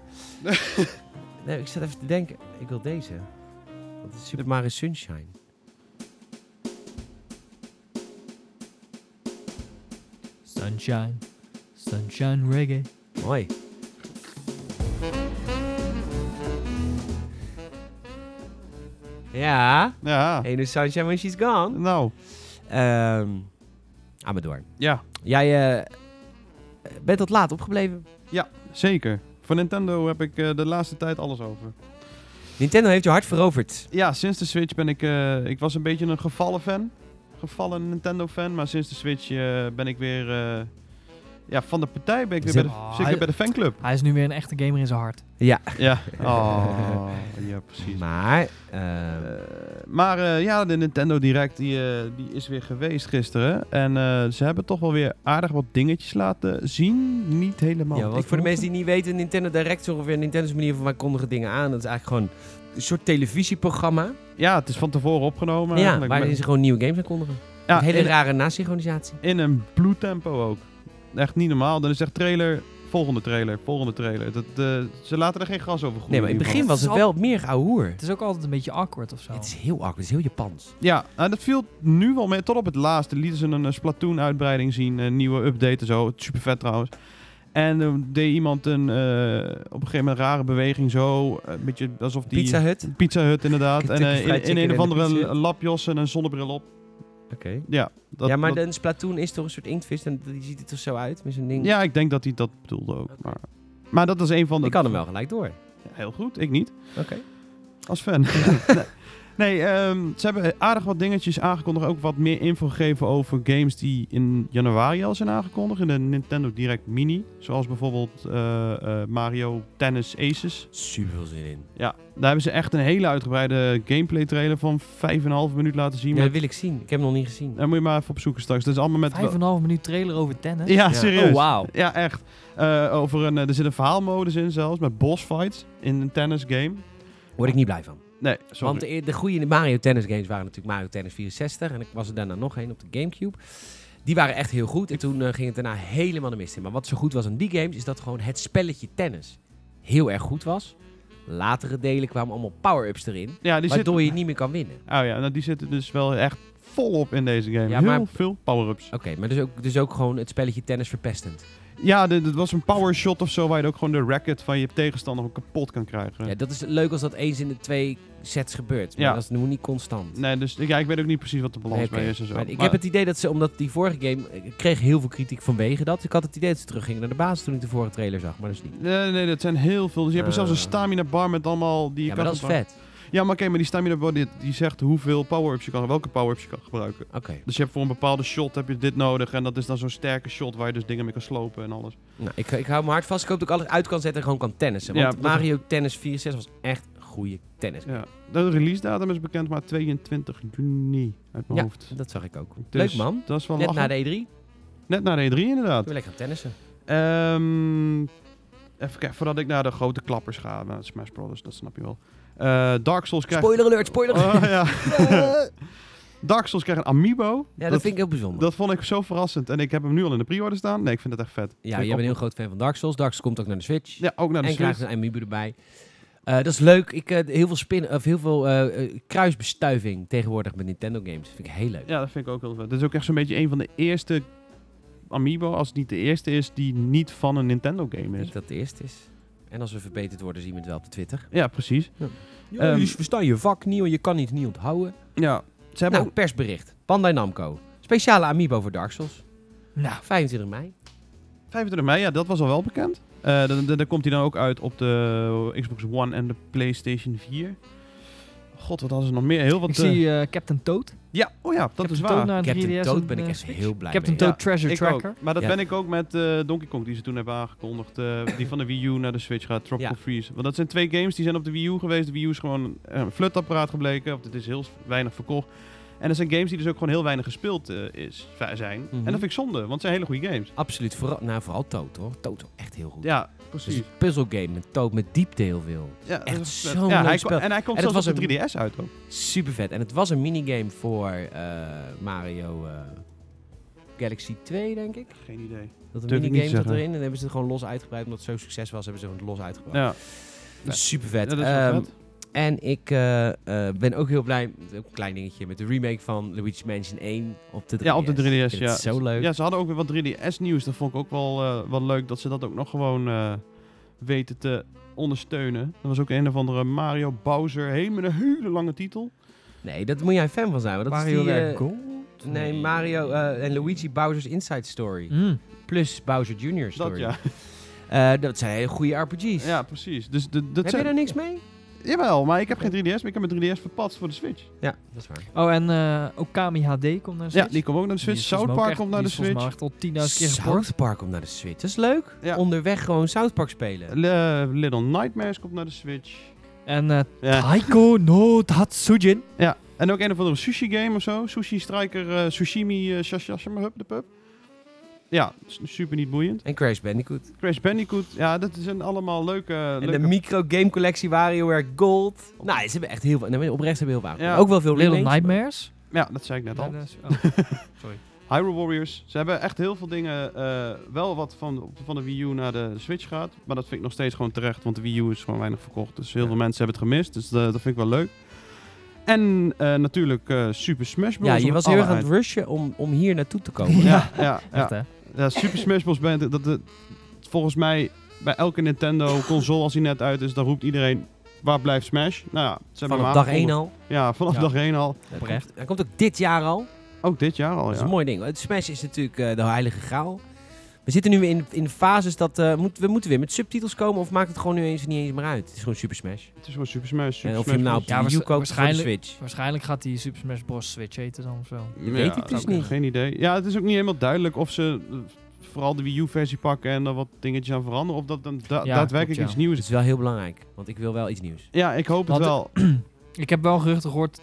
S1: nee, ik zat even te denken. Ik wil deze. Dat is Super Mario Sunshine.
S3: Sunshine. Sunshine reggae.
S1: Mooi. Ja.
S2: Ja.
S1: Hey, dus Sunshine When She's Gone.
S2: Nou,
S1: Ehm aan me door.
S2: ja,
S1: Jij eh, bent wat laat opgebleven.
S2: zeker. Voor Nintendo heb ik eh, de laatste tijd alles over.
S1: Nintendo heeft je hart veroverd.
S2: Ja, sinds de Switch ben ik... eh, ik was een beetje een gevallen fan. Gevallen Nintendo-fan. Maar sinds de Switch eh, ben ik weer... eh, ja, van de partij ben ik weer
S1: Zit-
S2: bij de,
S3: Oh,
S2: zit ik weer
S1: Ah,
S3: hij-
S2: bij de fanclub.
S3: Hij is nu weer een echte gamer in zijn hart.
S1: Ja.
S2: Ja. Oh, ja, precies.
S1: Maar, ehm,
S2: Eh, maar eh, ja, de Nintendo Direct die, eh, die is weer geweest gisteren. En eh, ze hebben toch wel weer aardig wat dingetjes laten zien. Niet helemaal.
S1: ja,
S2: wat
S1: want
S2: ik
S1: voor de mensen
S2: verwachtte.
S1: die niet weten, Nintendo Direct is ongeveer Nintendo's manier van wij kondigen dingen aan. Dat is eigenlijk gewoon een soort televisieprogramma.
S2: Ja, het is van tevoren opgenomen.
S1: ja,
S2: eigenlijk.
S1: waarin ze
S2: Met-
S1: gewoon nieuwe games aan kondigen.
S2: Ja,
S1: een hele
S2: in,
S1: rare nasynchronisatie.
S2: in een bloedtempo ook. Echt niet normaal. Dan is echt trailer, volgende trailer, volgende trailer. Dat, eh, ze laten er geen gras over groeien.
S1: Nee, maar in het
S2: ieder
S1: begin
S2: geval.
S1: was het wel meer gehoer.
S3: Het is ook altijd een beetje awkward of zo.
S1: Het is heel awkward, het is heel Japans.
S2: Ja, nou, dat viel nu wel mee. Tot op het laatste lieten ze een eh, Splatoon-uitbreiding zien. Een nieuwe update en zo. Super vet trouwens. En eh, deed iemand een, eh, op een gegeven moment een rare beweging zo. eh, Een beetje alsof die...
S1: Pizza Hut. Oké.
S2: Pizza Hut, inderdaad. en
S1: Kentucky
S2: eh,
S1: Fried
S2: in, in
S1: Chicken
S2: een of
S1: en de Pizza
S2: andere
S1: Hut.
S2: lapjas en een zonnebril op. Ja, dat,
S1: Ja, maar
S2: dat-
S1: een Splatoon is toch een soort inktvis en die ziet er toch zo uit met zo'n ding.
S2: ja, ik denk dat hij dat bedoelde ook. Maar, maar dat is een van de...
S1: Ik kan hem wel gelijk door.
S2: Heel goed, ik niet.
S1: Oké.
S2: Als fan. Nee. Nee, ehm, ze hebben aardig wat dingetjes aangekondigd. Ook wat meer info gegeven over games die in januari al zijn aangekondigd. In de Nintendo Direct Mini. Zoals bijvoorbeeld eh, eh, Mario Tennis Aces.
S1: Super veel zin in.
S2: Ja, daar hebben ze echt een hele uitgebreide gameplay trailer van 5,5 minuut laten zien.
S1: Ja, dat
S2: Met-
S1: wil ik zien. Ik heb hem nog niet gezien.
S2: Daar moet je maar even op zoeken straks. Dat is allemaal met...
S3: Vijf en een half minuut trailer over tennis.
S2: ja,
S1: Ja.
S2: serieus.
S3: Oh, wauw.
S2: Ja, echt. Eh, over een, eh, er zit een verhaalmodus in zelfs, met boss fights in een tennis game.
S1: Word ik niet blij van.
S2: Nee, sorry.
S1: Want de, de goede Mario Tennis games waren natuurlijk Mario Tennis 64. En ik was er daarna nog één op de Gamecube. Die waren echt heel goed. En toen eh, ging het daarna helemaal de mist in. Maar wat zo goed was aan die games, is dat gewoon het spelletje tennis heel erg goed was. Latere delen kwamen allemaal power-ups erin.
S2: ja, die zit,
S1: Waardoor je niet meer kan winnen.
S2: oh ja, nou, die zitten dus wel echt volop in deze game.
S1: Ja,
S2: Heel
S1: maar-
S2: veel power-ups.
S1: Oké, maar dus ook, dus ook gewoon het spelletje tennis verpestend.
S2: Ja, dit, dit was een power shot of zo, waar je ook gewoon de racket van je tegenstander ook kapot kan krijgen.
S1: Ja, dat is leuk als dat eens in de twee sets gebeurt. Maar
S2: Ja.
S1: dat is nu niet constant.
S2: Nee, dus ja, ik weet ook niet precies wat de balans
S1: Nee, oké.
S2: bij is en zo.
S1: Maar ik
S2: Maar-
S1: heb het idee dat ze, omdat die vorige game ik kreeg heel veel kritiek vanwege dat. Ik had het idee dat ze teruggingen naar de basis toen ik de vorige trailer zag, maar dat is niet.
S2: Nee, nee, dat zijn heel veel. Dus je hebt
S1: Eh.
S2: zelfs een stamina bar met allemaal... Die
S1: ja,
S2: je kan
S1: maar dat is
S2: gebruiken.
S1: vet.
S2: Ja, maar oké, maar die stamina bar die, die zegt hoeveel power-ups je kan... Welke power-ups je kan gebruiken.
S1: Oké.
S2: Dus je hebt voor een bepaalde shot heb je dit nodig. En dat is dan zo'n sterke shot waar je dus dingen mee kan slopen en alles.
S1: Nou, ik, ik hou me hard vast. Ik hoop dat ik alles uit kan zetten en gewoon kan tennissen.
S2: Ja,
S1: Want
S2: dat-
S1: Mario Tennis 64 was echt goede tennis.
S2: Ja. De release datum is bekend, maar 22 juni uit mijn
S1: Ja,
S2: hoofd.
S1: Dat zag ik ook.
S2: Dus
S1: Leuk man.
S2: Dat is wel
S1: Net
S2: lachen.
S1: na de E E3.
S2: Net na de E3 inderdaad.
S1: Toen lekker gaan tennissen.
S2: Ehm, even kijken, voordat ik naar de grote klappers ga. Nou, Smash Brothers, dat snap je wel. Eh, Dark Souls krijgt...
S1: Spoiler alert, spoiler alert.
S2: Oh, ja. Dark Souls krijgt een amiibo.
S1: ja, dat, vind ik heel bijzonder.
S2: dat vond ik zo verrassend. En ik heb hem nu al in de pre-order staan. Nee, ik vind dat echt vet.
S1: ja,
S2: Vind
S1: jij
S2: ik
S1: bent een heel
S2: op-
S1: groot fan van Dark Souls. Dark Souls komt ook naar de Switch.
S2: Ja, ook naar de
S1: en
S2: Switch.
S1: krijgt een amiibo erbij. Eh, dat is leuk. Ik, eh, heel veel, spin, of heel veel eh, eh, kruisbestuiving tegenwoordig met Nintendo games. vind ik heel leuk.
S2: Ja, dat vind ik ook heel vet. Dit is ook echt zo'n beetje een van de eerste Amiibo, als het niet de eerste is, die niet van een Nintendo game
S1: Ik
S2: is.
S1: denk dat het eerst is. En als we verbeterd worden, zien we het wel op de Twitter.
S2: Ja, precies.
S1: Ja,
S2: Ehm,
S1: je verstaan je vak niet, want je kan het niet onthouden.
S2: Ja, ze hebben
S1: Nou,
S2: ook...
S1: persbericht. Bandai Namco. Speciale amiibo voor Dark Souls.
S3: Nou,
S1: 25 mei.
S2: 25 mei, ja, dat was al wel bekend. Eh, dan dan- dan komt hij dan ook uit op de Xbox One en de PlayStation 4. God, wat hadden ze nog meer? Heel wat...
S3: ik
S2: eh,
S3: zie eh, Captain Toad.
S2: Ja, oh ja, dat is
S3: Toad
S2: waar.
S3: naar een
S1: Captain
S3: 3DS
S1: Toad
S3: en,
S1: ben ik
S3: eh,
S1: echt
S3: Switch.
S1: heel blij
S3: Captain
S1: mee.
S3: Toad Treasure
S2: Ik
S3: Tracker.
S2: ook. Maar dat
S1: Ja.
S2: ben ik ook met eh, Donkey Kong, die ze toen hebben aangekondigd. eh, die van de Wii U naar de Switch gaat, Tropical
S1: Ja.
S2: Freeze. Want dat zijn twee games die zijn op de Wii U geweest. De Wii U is gewoon een, een flutapparaat gebleken. Of het is heel weinig verkocht. En dat zijn games die dus ook gewoon heel weinig gespeeld eh, is, zijn.
S3: Mhm.
S2: En dat vind ik zonde, want het zijn hele goede games.
S1: Absoluut. Vooral, nou, vooral Toad hoor. Toad is echt heel goed.
S2: Ja,
S3: Dus
S1: Het is
S2: precies.
S1: een puzzelgame met Toad met diepte heel veel.
S2: Ja, dat
S1: echt
S2: is vet.
S1: zo'n
S2: ja,
S1: leuk
S2: hij
S1: spel.
S2: kwam- En hij komt
S1: En dat
S2: zelfs op
S1: was
S2: de 3DS uit ook.
S1: Super vet. En het was een minigame voor eh, Mario eh, Galaxy 2, denk ik.
S2: Geen idee.
S1: Dat
S2: Durf ik
S1: een
S2: niet
S1: minigame
S2: te
S1: zat
S2: zeggen.
S1: erin. En hebben ze het gewoon los uitgebreid. Omdat het zo succes was, hebben ze het los uitgebreid.
S2: Ja, Ja.
S1: Super vet.
S2: Ja, dat is wel vet.
S1: Ehm, En ik eh, eh, ben ook heel blij, met- ook een klein dingetje, met de remake van Luigi's Mansion 1 op de 3DS.
S2: Ja, op de 3DS,
S1: Ik vind
S2: ja.
S1: het zo leuk.
S2: Ja, ze hadden ook weer wat 3DS-nieuws. Dat vond ik ook wel, eh, wel leuk dat ze dat ook nog gewoon eh, weten te ondersteunen. Dat was ook een of andere Mario Bowser. Helemaal een hele lange titel.
S1: Nee, dat moet jij fan van zijn. want Dat
S3: Mario
S1: is die,
S3: Werk
S1: eh,
S3: Gold?
S1: Nee, Mario eh, en Luigi Bowser's Inside Story.
S3: Mm.
S1: Plus Bowser Jr. Story.
S2: Hm. Dat ja.
S1: Eh, dat zijn hele goede RPG's.
S2: Ja, precies. Dus de, dat
S1: Heb
S2: zijn...
S1: je er niks mee?
S2: Jawel, maar ik heb geen 3DS, maar ik heb mijn 3DS verpatst voor Oh. de Switch.
S1: Ja, dat is waar.
S3: Oh, en eh, Okami HD komt naar de Switch.
S2: Ja, die komt ook naar de Switch. South Park komt naar de Switch.
S3: Ik al 10.000 keer geport.
S1: South Park om naar de Switch. Dat is leuk.
S2: Ja.
S1: Onderweg gewoon South Park spelen.
S2: Le- Little Nightmares komt naar de Switch.
S3: En eh
S1: Ah,
S2: Ja.
S3: Taiko no Tatsujin.
S2: Ja, en ook een of andere sushi game of zo. Sushi Striker, eh, Sushimi, eh Shashashima, Hup de Pup. Ja, s- super niet boeiend.
S1: En Crash Bandicoot.
S2: Crash Bandicoot, ja, dat zijn allemaal leuke...
S1: En de
S2: leuke
S1: micro game collectie WarioWare Gold. Nou, ze hebben echt heel veel. Nee, oprecht ze hebben heel veel.
S2: Ja.
S1: Ook wel veel
S3: Little
S1: remakes.
S3: Nightmares.
S2: ja, dat zei ik net al.
S3: Ja, dat is- oh.
S2: Hyrule Warriors. Ze hebben echt heel veel dingen, eh, wel wat van, van de Wii U naar de Switch gaat. Maar dat vind ik nog steeds gewoon terecht, want de Wii U is gewoon weinig verkocht. Dus heel
S1: Ja.
S2: veel mensen hebben het gemist, dus eh, dat vind ik wel leuk. En eh, natuurlijk eh, Super Smash Bros.
S1: Ja, je
S2: op
S1: was
S2: alle
S1: heel erg aan het
S2: eind-
S1: rushen om, om hier naartoe te komen.
S2: Ja, ja, ja.
S3: Echt, hè?
S2: Ja, Super Smash Bros. Band, dat, dat- volgens mij bij elke Nintendo-console, als die net uit is, dan roept iedereen, waar blijft Smash? Nou ja, ze hebben
S1: Vanaf
S2: hem
S1: dag 1
S2: aangekondigd.
S1: al.
S2: Ja, vanaf
S3: Ja.
S2: dag 1 al.
S1: Dat
S3: Oprecht.
S1: komt, dat komt ook dit jaar al.
S2: Ook dit jaar al,
S1: Dat is
S2: ja.
S1: een mooi ding. Het Smash is natuurlijk eh, de heilige graal. We zitten nu in, in fases dat eh, moet, we moeten weer met subtitels komen of maakt het gewoon nu eens niet eens meer uit. Het is gewoon Super Smash.
S2: Het is gewoon Super Smash. Super
S1: en of je
S2: Smash
S1: hem nou op
S2: Bros.
S1: de
S3: Ja,
S1: Wii U
S3: waarsch-
S1: koopt of voor de
S3: waarschijnlijk-
S1: Switch.
S3: Waarschijnlijk gaat die Super Smash Bros. Switch eten dan of zo.
S2: Ja,
S1: weet het dus
S2: ook
S1: niet.
S2: Geen idee. Ja, het is ook niet helemaal duidelijk of ze eh, vooral de Wii U-versie pakken en er wat dingetjes aan veranderen. Of dat dan da-
S3: Ja,
S2: daadwerkelijk
S3: klopt, ja.
S2: iets
S1: Het is
S2: nieuws is.
S1: wel heel belangrijk, want ik wil wel iets nieuws.
S2: Ja, ik hoop
S3: Want-
S2: het wel.
S3: Ik heb wel geruchten gehoord.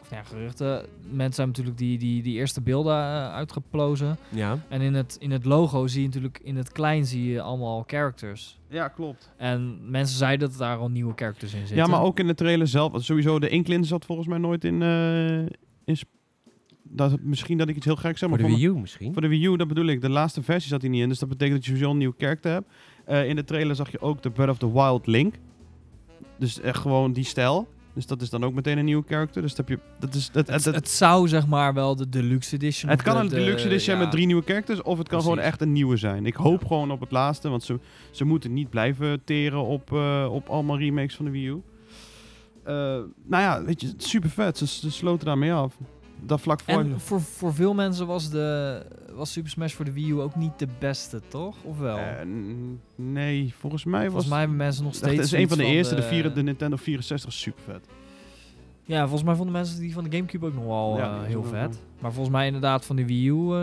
S3: Of nou ja, geruchten. Mensen hebben natuurlijk die, die, die eerste beelden eh, uitgeplozen.
S1: Ja.
S3: En in het, in het logo zie je natuurlijk, in het klein zie je allemaal characters.
S2: Ja, klopt.
S3: En mensen zeiden dat daar al nieuwe characters in zitten.
S2: Ja, maar ook in de trailer zelf. Want Sowieso, de Inklin zat volgens mij nooit in... eh, in Sp- dat, misschien dat ik iets heel gek zeg,
S1: Voor
S2: maar
S1: de
S2: voor
S1: Wii U misschien.
S3: Hm?
S2: Voor de Wii U, dat bedoel ik. De laatste versie zat hij niet in. Dus dat betekent dat je sowieso een nieuw character hebt. Eh, in de trailer zag je ook de Breath of the Wild Link. Dus echt gewoon die stijl. Dus dat is dan ook meteen een nieuwe character. Dus dat heb je... Dat is, dat,
S3: Het,
S2: dat-
S3: Dus het zou zeg maar wel de deluxe edition.
S2: het
S3: of
S2: kan
S3: de-
S2: een
S3: de-
S2: deluxe edition
S3: ja.
S2: met drie nieuwe characters. Of het kan gewoon
S3: Precies.
S2: echt een nieuwe zijn. Ik hoop
S3: Ja.
S2: gewoon op het laatste. Want ze, ze moeten niet blijven teren op, eh, op allemaal remakes van de Wii U. Eh, nou ja, weet je, super vet. Ze, ze sloten daarmee af. Dat vlak voor...
S3: En voor, voor veel mensen was, de, was Super Smash voor de Wii U ook niet de beste, toch? Of wel?
S2: Eh, n- nee, volgens mij was...
S3: volgens mij hebben mensen nog
S2: Dat
S3: steeds.
S2: is een van de
S3: zoiets
S1: eh,
S2: eerste, de, vier, de Nintendo 64, is super vet.
S3: Ja, volgens mij vonden mensen die van de Gamecube ook nog wel
S2: Ja,
S3: eh,
S2: die is
S3: heel
S2: ook
S3: vet.
S2: wel.
S3: Maar volgens mij inderdaad van de Wii U. eh,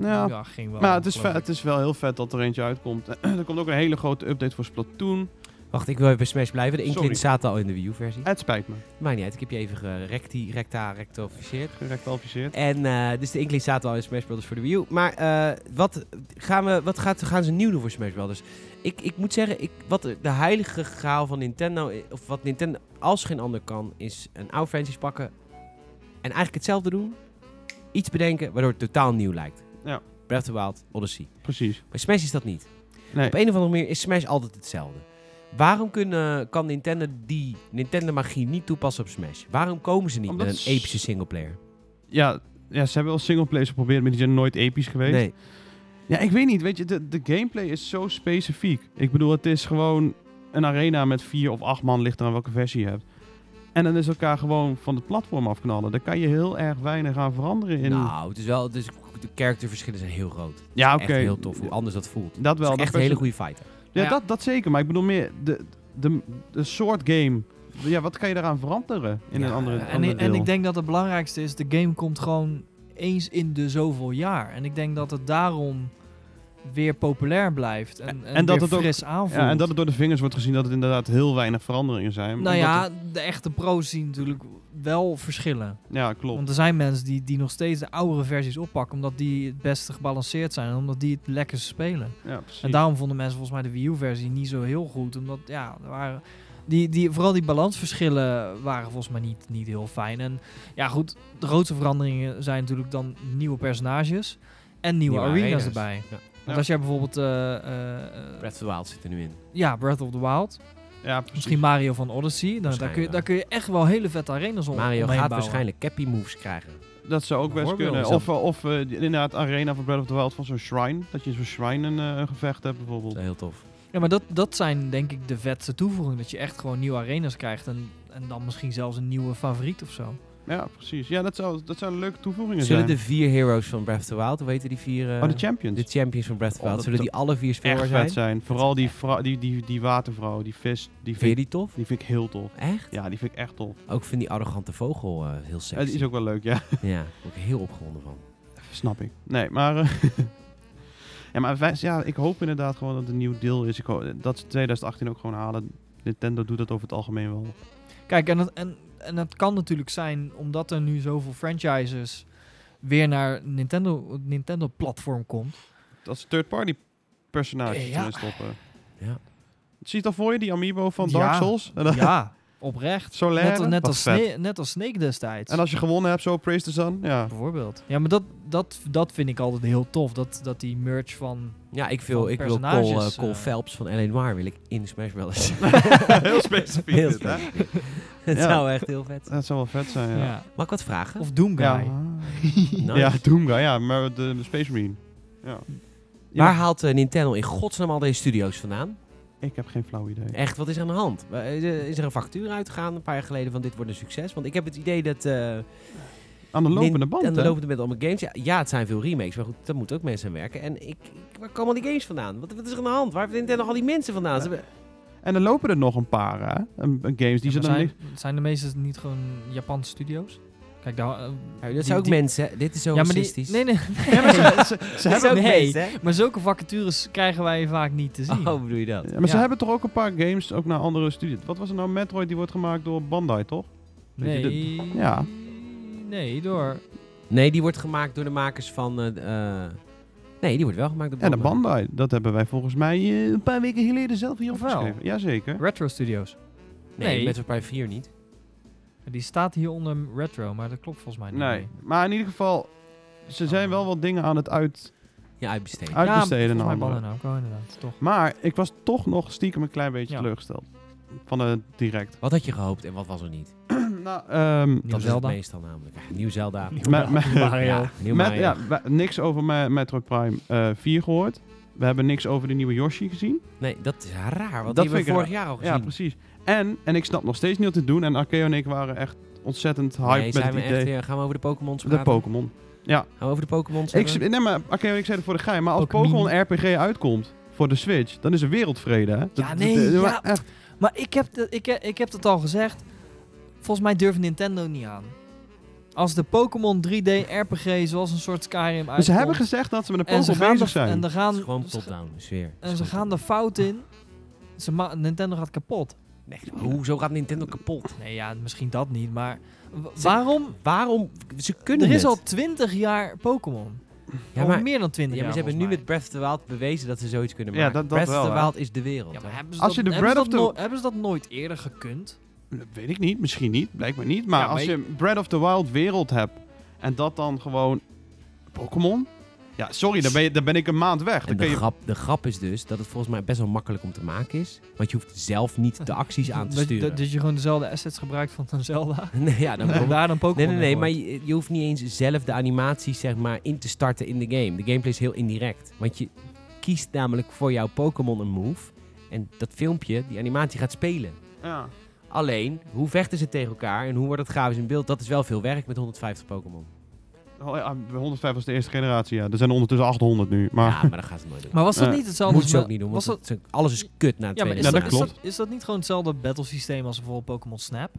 S3: ja.
S2: Ja.
S3: ging wel.
S2: maar het is,
S3: geloof
S2: vet, het is wel heel vet dat er eentje uitkomt. er komt ook een hele grote update voor Splatoon.
S1: Wacht, ik wil even bij Smash blijven. De
S2: Sorry.
S1: Inklings zaten al in de Wii U-versie.
S2: Het spijt me,
S1: Maakt niet uit, ik heb je even gerecti, recta, rectificeerd.
S2: direct alficeerd.
S1: En eh, dus de Inklings zaten al in Smash Brothers voor de Wii U. Maar eh, wat, gaan we, wat gaat, gaan ze nieuw doen voor Smash Brothers? Ik, ik moet zeggen, ik, wat de heilige graal van Nintendo... i- of wat Nintendo als geen ander kan, is een oude franchise pakken... en eigenlijk hetzelfde doen. Iets bedenken waardoor het totaal nieuw lijkt.
S2: Ja.
S1: Breath of the Wild, Odyssey.
S2: Precies.
S1: Bij Smash is dat niet.
S2: Nee.
S1: Op een of andere manier is Smash altijd hetzelfde. Waarom kunnen, kan Nintendo die Nintendo-magie niet toepassen op Smash? Waarom komen ze niet
S2: Omdat
S1: met een
S2: s-
S1: epische singleplayer?
S2: Ja, ja, ze hebben wel singleplayers geprobeerd, maar die zijn nooit episch geweest.
S1: Nee.
S2: Ja, ik weet niet, weet je, de, de gameplay is zo specifiek. Ik bedoel, het is gewoon een arena met vier of acht man, ligt eraan welke versie je hebt. En dan is elkaar gewoon van het platform afknallen. Daar kan je heel erg weinig aan veranderen in...
S1: Nou, het is wel, het is, de characterverschillen zijn heel groot. Het
S2: ja,
S1: is Echt heel tof hoe anders dat voelt.
S2: Dat wel.
S1: het is
S2: dat
S1: echt een hele
S2: perso-
S1: goede fighter.
S2: Ja,
S3: Ja.
S2: Dat, dat zeker. Maar ik bedoel meer de, de, de soort game. Ja, wat kan je daaraan veranderen in
S1: Ja,
S2: een andere,
S1: en-
S3: En,
S2: andere
S3: ik- en
S2: deel?
S3: ik denk dat het belangrijkste is, de game komt gewoon eens in de zoveel jaar. En ik denk dat het daarom weer populair blijft. En, en,
S2: En dat
S3: weer
S2: het ook-
S3: fris aanvoelt.
S2: ja, en dat het door de vingers wordt gezien dat het inderdaad heel weinig veranderingen zijn.
S3: nou
S2: Omdat
S3: ja,
S2: het-
S3: de echte pro's zien natuurlijk wel verschillen.
S2: ja, klopt.
S3: Want er zijn mensen die, die nog steeds de oudere versies oppakken, omdat die het beste gebalanceerd zijn en omdat die het lekkerst spelen.
S2: Ja, precies.
S3: En daarom vonden mensen volgens mij de Wii U-versie niet zo heel goed. Omdat, ja, er waren die, die, vooral die balansverschillen waren volgens mij niet, niet heel fijn. En ja, goed, de grootste veranderingen zijn natuurlijk dan nieuwe personages en nieuwe,
S1: Nieuwe
S3: arenas,
S1: arenas.
S3: erbij.
S1: Ja.
S2: Ja.
S3: Want als jij bijvoorbeeld, eh, eh, eh,
S1: Breath of the Wild zit er nu in.
S3: ja, Breath of the Wild,
S2: ja, precies.
S3: misschien Mario van Odyssey, dan, daar, kun je,
S1: Waarschijnlijk.
S3: daar kun je echt wel hele vette arenas om
S1: Mario
S3: omheen
S1: gaat
S3: bouwen.
S1: waarschijnlijk cappy moves krijgen.
S2: Dat zou ook best
S1: Bijvoorbeeld.
S2: kunnen. Of, eh, of eh, inderdaad arena van Breath of the Wild van zo'n shrine. Dat je in zo'n shrine een, eh, een gevecht hebt
S1: Dat
S2: bijvoorbeeld.
S1: is heel tof.
S3: Ja, maar dat, dat zijn denk ik de vetste toevoegingen. Dat je echt gewoon nieuwe arenas krijgt en, en dan misschien zelfs een nieuwe favoriet of zo.
S2: Ja, precies. Ja, dat, zou, dat zou leuke toevoegingen
S1: Zullen
S2: zijn.
S1: de vier heroes van Breath of the Wild, hoe heten die vier? eh,
S2: oh, de champions.
S1: de champions van Breath of the
S2: Oh,
S1: Wild,
S2: dat-
S1: zullen die alle vier
S2: echt
S1: speelbaar
S2: vet
S1: zijn?
S2: zijn.
S1: Vind
S2: Vooral die, vrou- die, die, die watervrouw, die vis. Die
S1: je
S2: vind,
S1: die tof?
S2: die vind ik heel tof.
S1: Echt?
S2: Ja, die vind ik echt tof.
S1: Ook vind die arrogante vogel eh, heel
S2: Ja,
S1: sexy.
S2: die is ook wel leuk, ja.
S1: Ja, daar word ik heel opgewonden van.
S2: Snap ik. Nee, maar. eh, ja, maar wij- ja, ik hoop inderdaad gewoon dat het een nieuw deel is. Ik ho- dat ze 2018 ook gewoon halen. Nintendo doet dat over het algemeen wel.
S3: Kijk, en dat, en, en dat kan natuurlijk zijn omdat er nu zoveel franchises weer naar Nintendo, het Nintendo-platform komt.
S2: Dat ze third-party personages
S3: Ja.
S2: erin stoppen.
S1: Ja.
S2: Zie je het al voor je, die amiibo van
S3: Ja.
S2: Dark Souls? En dan-
S3: ja, oprecht.
S2: Solaire?
S3: Net, net,
S2: Wat
S3: als
S2: vet.
S3: Sne- net als Snake destijds.
S2: En als je gewonnen hebt, zo Praise the Sun. Ja.
S3: Bijvoorbeeld. Ja, maar dat, dat, dat vind ik altijd heel tof. Dat, dat die merch van...
S1: Ja, ik wil,
S3: Van
S1: ik wil Cole,
S3: personages,
S1: eh,
S3: eh.
S1: Cole Phelps van L.A. Noir wil ik in Smash Bros.
S2: Heel specifiek.
S1: Heel
S2: dit, hè?
S1: specifiek. Dat
S2: Ja.
S1: zou echt heel vet zijn.
S2: Dat zou wel vet zijn, ja.
S3: Ja.
S2: Ja,
S1: Mag ik wat vragen? Nou,
S3: Of Doomguy.
S1: Nice.
S2: ja Doomguy, ja. Maar de, de Space Marine. Ja. Ja.
S1: Waar haalt eh, Nintendo in godsnaam al deze studio's vandaan?
S2: Ik heb geen flauw idee.
S1: Echt, wat is er aan de hand? Eh, Is er- is er een factuur uitgegaan een paar jaar geleden van dit wordt een succes? Want ik heb het idee dat... eh,
S2: aan de lopende
S1: min-
S2: band,
S1: En dan
S2: hè?
S1: lopen er met allemaal games. Ja, ja, het zijn veel remakes, maar goed, daar moeten ook mensen aan werken. En ik, ik- waar komen al die games vandaan? Wat, wat is er aan de hand? Waar heeft Nintendo al die mensen vandaan? Ze hebben-
S2: En er lopen er nog een paar, hè? Een- een games die ze
S3: Ja, maar
S2: dan...
S3: zijn,
S2: niet-
S3: zijn de meeste niet gewoon Japanse studio's? Kijk, daar... eh,
S1: Ja,
S3: die-
S1: dat zijn ook
S3: die-
S1: mensen. hè? Dit is zo
S3: Ja, maar die...
S1: racistisch.
S3: Nee, nee.
S2: Ja, maar ze, ze- ze
S1: Dit is
S2: hebben,
S1: ook
S3: Nee.
S1: mensen, hè?
S3: Maar zulke vacatures krijgen wij vaak niet te zien.
S1: Oh, bedoel je dat?
S2: Ja, maar ze
S3: Ja.
S2: hebben toch ook een paar games, ook naar andere studios. Wat was er nou? Metroid, die wordt gemaakt door Bandai, toch? Weet je,
S3: nee.
S2: de- ja.
S3: Nee, door...
S1: Nee, die wordt gemaakt door de makers van... eh, eh, nee, die wordt wel gemaakt door
S2: En de
S1: Bandai.
S2: Bandai, dat hebben wij volgens mij eh, een paar weken geleden zelf hier
S3: Of wel?
S2: opgeschreven. Jazeker.
S3: Retro Studios.
S1: Nee,
S3: Nee.
S1: met Prime 4 niet.
S3: Die staat hier onder Retro, maar dat klopt volgens mij niet. Oh.
S2: Nee, maar in ieder geval, ze zijn wel wat dingen aan het uit,
S1: Ja,
S2: Ah.
S1: uitbesteden.
S3: Ja,
S2: uitbesteden.
S3: volgens
S2: naar
S3: mij
S2: anderen.
S3: Bandai Namco, Oh, inderdaad. Toch.
S2: maar ik was toch nog stiekem een klein beetje
S3: Ja.
S2: teleurgesteld. Van de direct.
S1: Wat had je gehoopt en wat was er niet?
S2: nou, ehm,
S3: Nieuw
S1: dat
S3: Zelda.
S1: is het meestal namelijk. Ja, nieuw Zelda.
S2: maar- maar-
S3: Mario.
S1: Ja, nieuw
S2: met,
S1: Mario.
S2: ja, we- niks over Ma- Metroid Prime eh, 4 gehoord. We hebben niks over de nieuwe Yoshi gezien.
S1: Nee, dat is raar, want die hebben
S2: Dat vind
S1: we
S2: ik
S1: vorig jaar al gezien.
S2: Ja, precies. En, en ik snap nog steeds niet wat te doen. En Arkeo en ik waren echt ontzettend hyped
S1: nee,
S2: met
S1: zijn
S2: het
S1: we
S2: idee.
S1: echt, eh, gaan we over de Pokémon
S2: de
S1: praten?
S2: Pokémon.
S1: Gaan we over de Pokémon
S2: Ik, s- nee, maar Arkeo en ik zeiden voor de gein. Maar als
S3: Pokémon.
S2: Pokémon RPG uitkomt voor de Switch, dan is er wereldvrede, hè? Dat- dat-
S3: nee,
S2: dat-
S3: ja.
S2: maar echt.
S3: Maar ik heb, de- ik, he- ik heb dat al gezegd. Volgens mij durft Nintendo niet aan. Als de Pokémon 3D RPG zoals een soort Skyrim
S2: Dus
S3: uitkomt...
S2: ze hebben gezegd dat ze met een
S3: en ze
S2: Pokémon
S3: gaan
S2: bezig
S3: er,
S2: zijn.
S3: en er gaan,
S1: Gewoon
S3: ze-
S1: top-down, sfeer.
S3: en ze gaan er fout in. Ze ma- Nintendo gaat kapot.
S1: Nee, hoezo gaat Nintendo kapot?
S3: Nee, ja, misschien dat niet, maar... wa-
S1: Ze-
S3: waarom?
S1: Waarom? Ze kunnen
S3: Er is
S1: het.
S3: al 20 jaar Pokémon.
S1: Ja,
S3: Of
S1: maar,
S3: meer dan 20
S1: ja, maar
S3: jaar
S1: ze hebben nu
S3: volgens
S1: met Breath of the Wild bewezen dat ze zoiets kunnen
S2: Ja,
S1: maken.
S2: dat- dat
S1: Breath of
S2: wel,
S1: the
S2: hè.
S1: Wild is de wereld.
S3: mij. Ja, maar
S1: hè.
S3: hebben ze,
S2: Als
S3: dat,
S2: je de
S3: hebben, ze
S2: Breath
S3: dat
S2: of the-
S3: nooit- hebben ze dat nooit eerder gekund?
S2: Dat weet ik niet, misschien niet, blijkbaar niet. Maar
S3: Ja, maar
S2: als
S3: je-
S2: je Breath of the Wild wereld hebt en dat dan gewoon Pokémon? Ja, sorry, dan ben, je, dan ben ik een maand weg. Dan
S1: En
S2: kun
S1: de
S2: je...
S1: grap, de grap is dus dat het volgens mij best wel makkelijk om te maken is. Want je hoeft zelf niet de acties aan te
S3: Dat- dat-
S1: sturen.
S3: Dat je gewoon dezelfde assets gebruikt van een Zelda.
S1: Nee, ja, dan
S2: Nou,
S3: En daar dan Pokémon
S1: Nee, nee,
S3: in
S1: nee,
S3: gooit.
S1: maar je, je hoeft niet eens zelf de animaties zeg maar, in te starten in de game. De gameplay is heel indirect. Want je kiest namelijk voor jouw Pokémon een move. En dat filmpje, die animatie gaat spelen.
S2: Ja.
S1: Alleen, hoe vechten ze tegen elkaar en hoe wordt het grafisch in beeld? Dat is wel veel werk met 150 Pokémon.
S2: Oh, ja, 105 was de eerste generatie, ja. Er zijn er ondertussen 800 nu. Maar...
S1: Ja, maar dat gaan ze nooit doen.
S3: Maar was dat
S2: Eh,
S3: niet hetzelfde?
S1: Moeten
S3: als
S1: ze ook
S3: met-
S1: niet doen, want
S3: Was dat,
S1: het- alles is kut na het
S3: ja, maar
S1: tweede.
S3: is,
S2: Ja,
S3: dat,
S2: dat
S3: is,
S2: klopt.
S3: dat, is dat niet gewoon hetzelfde battlesysteem als bijvoorbeeld Pokémon Snap?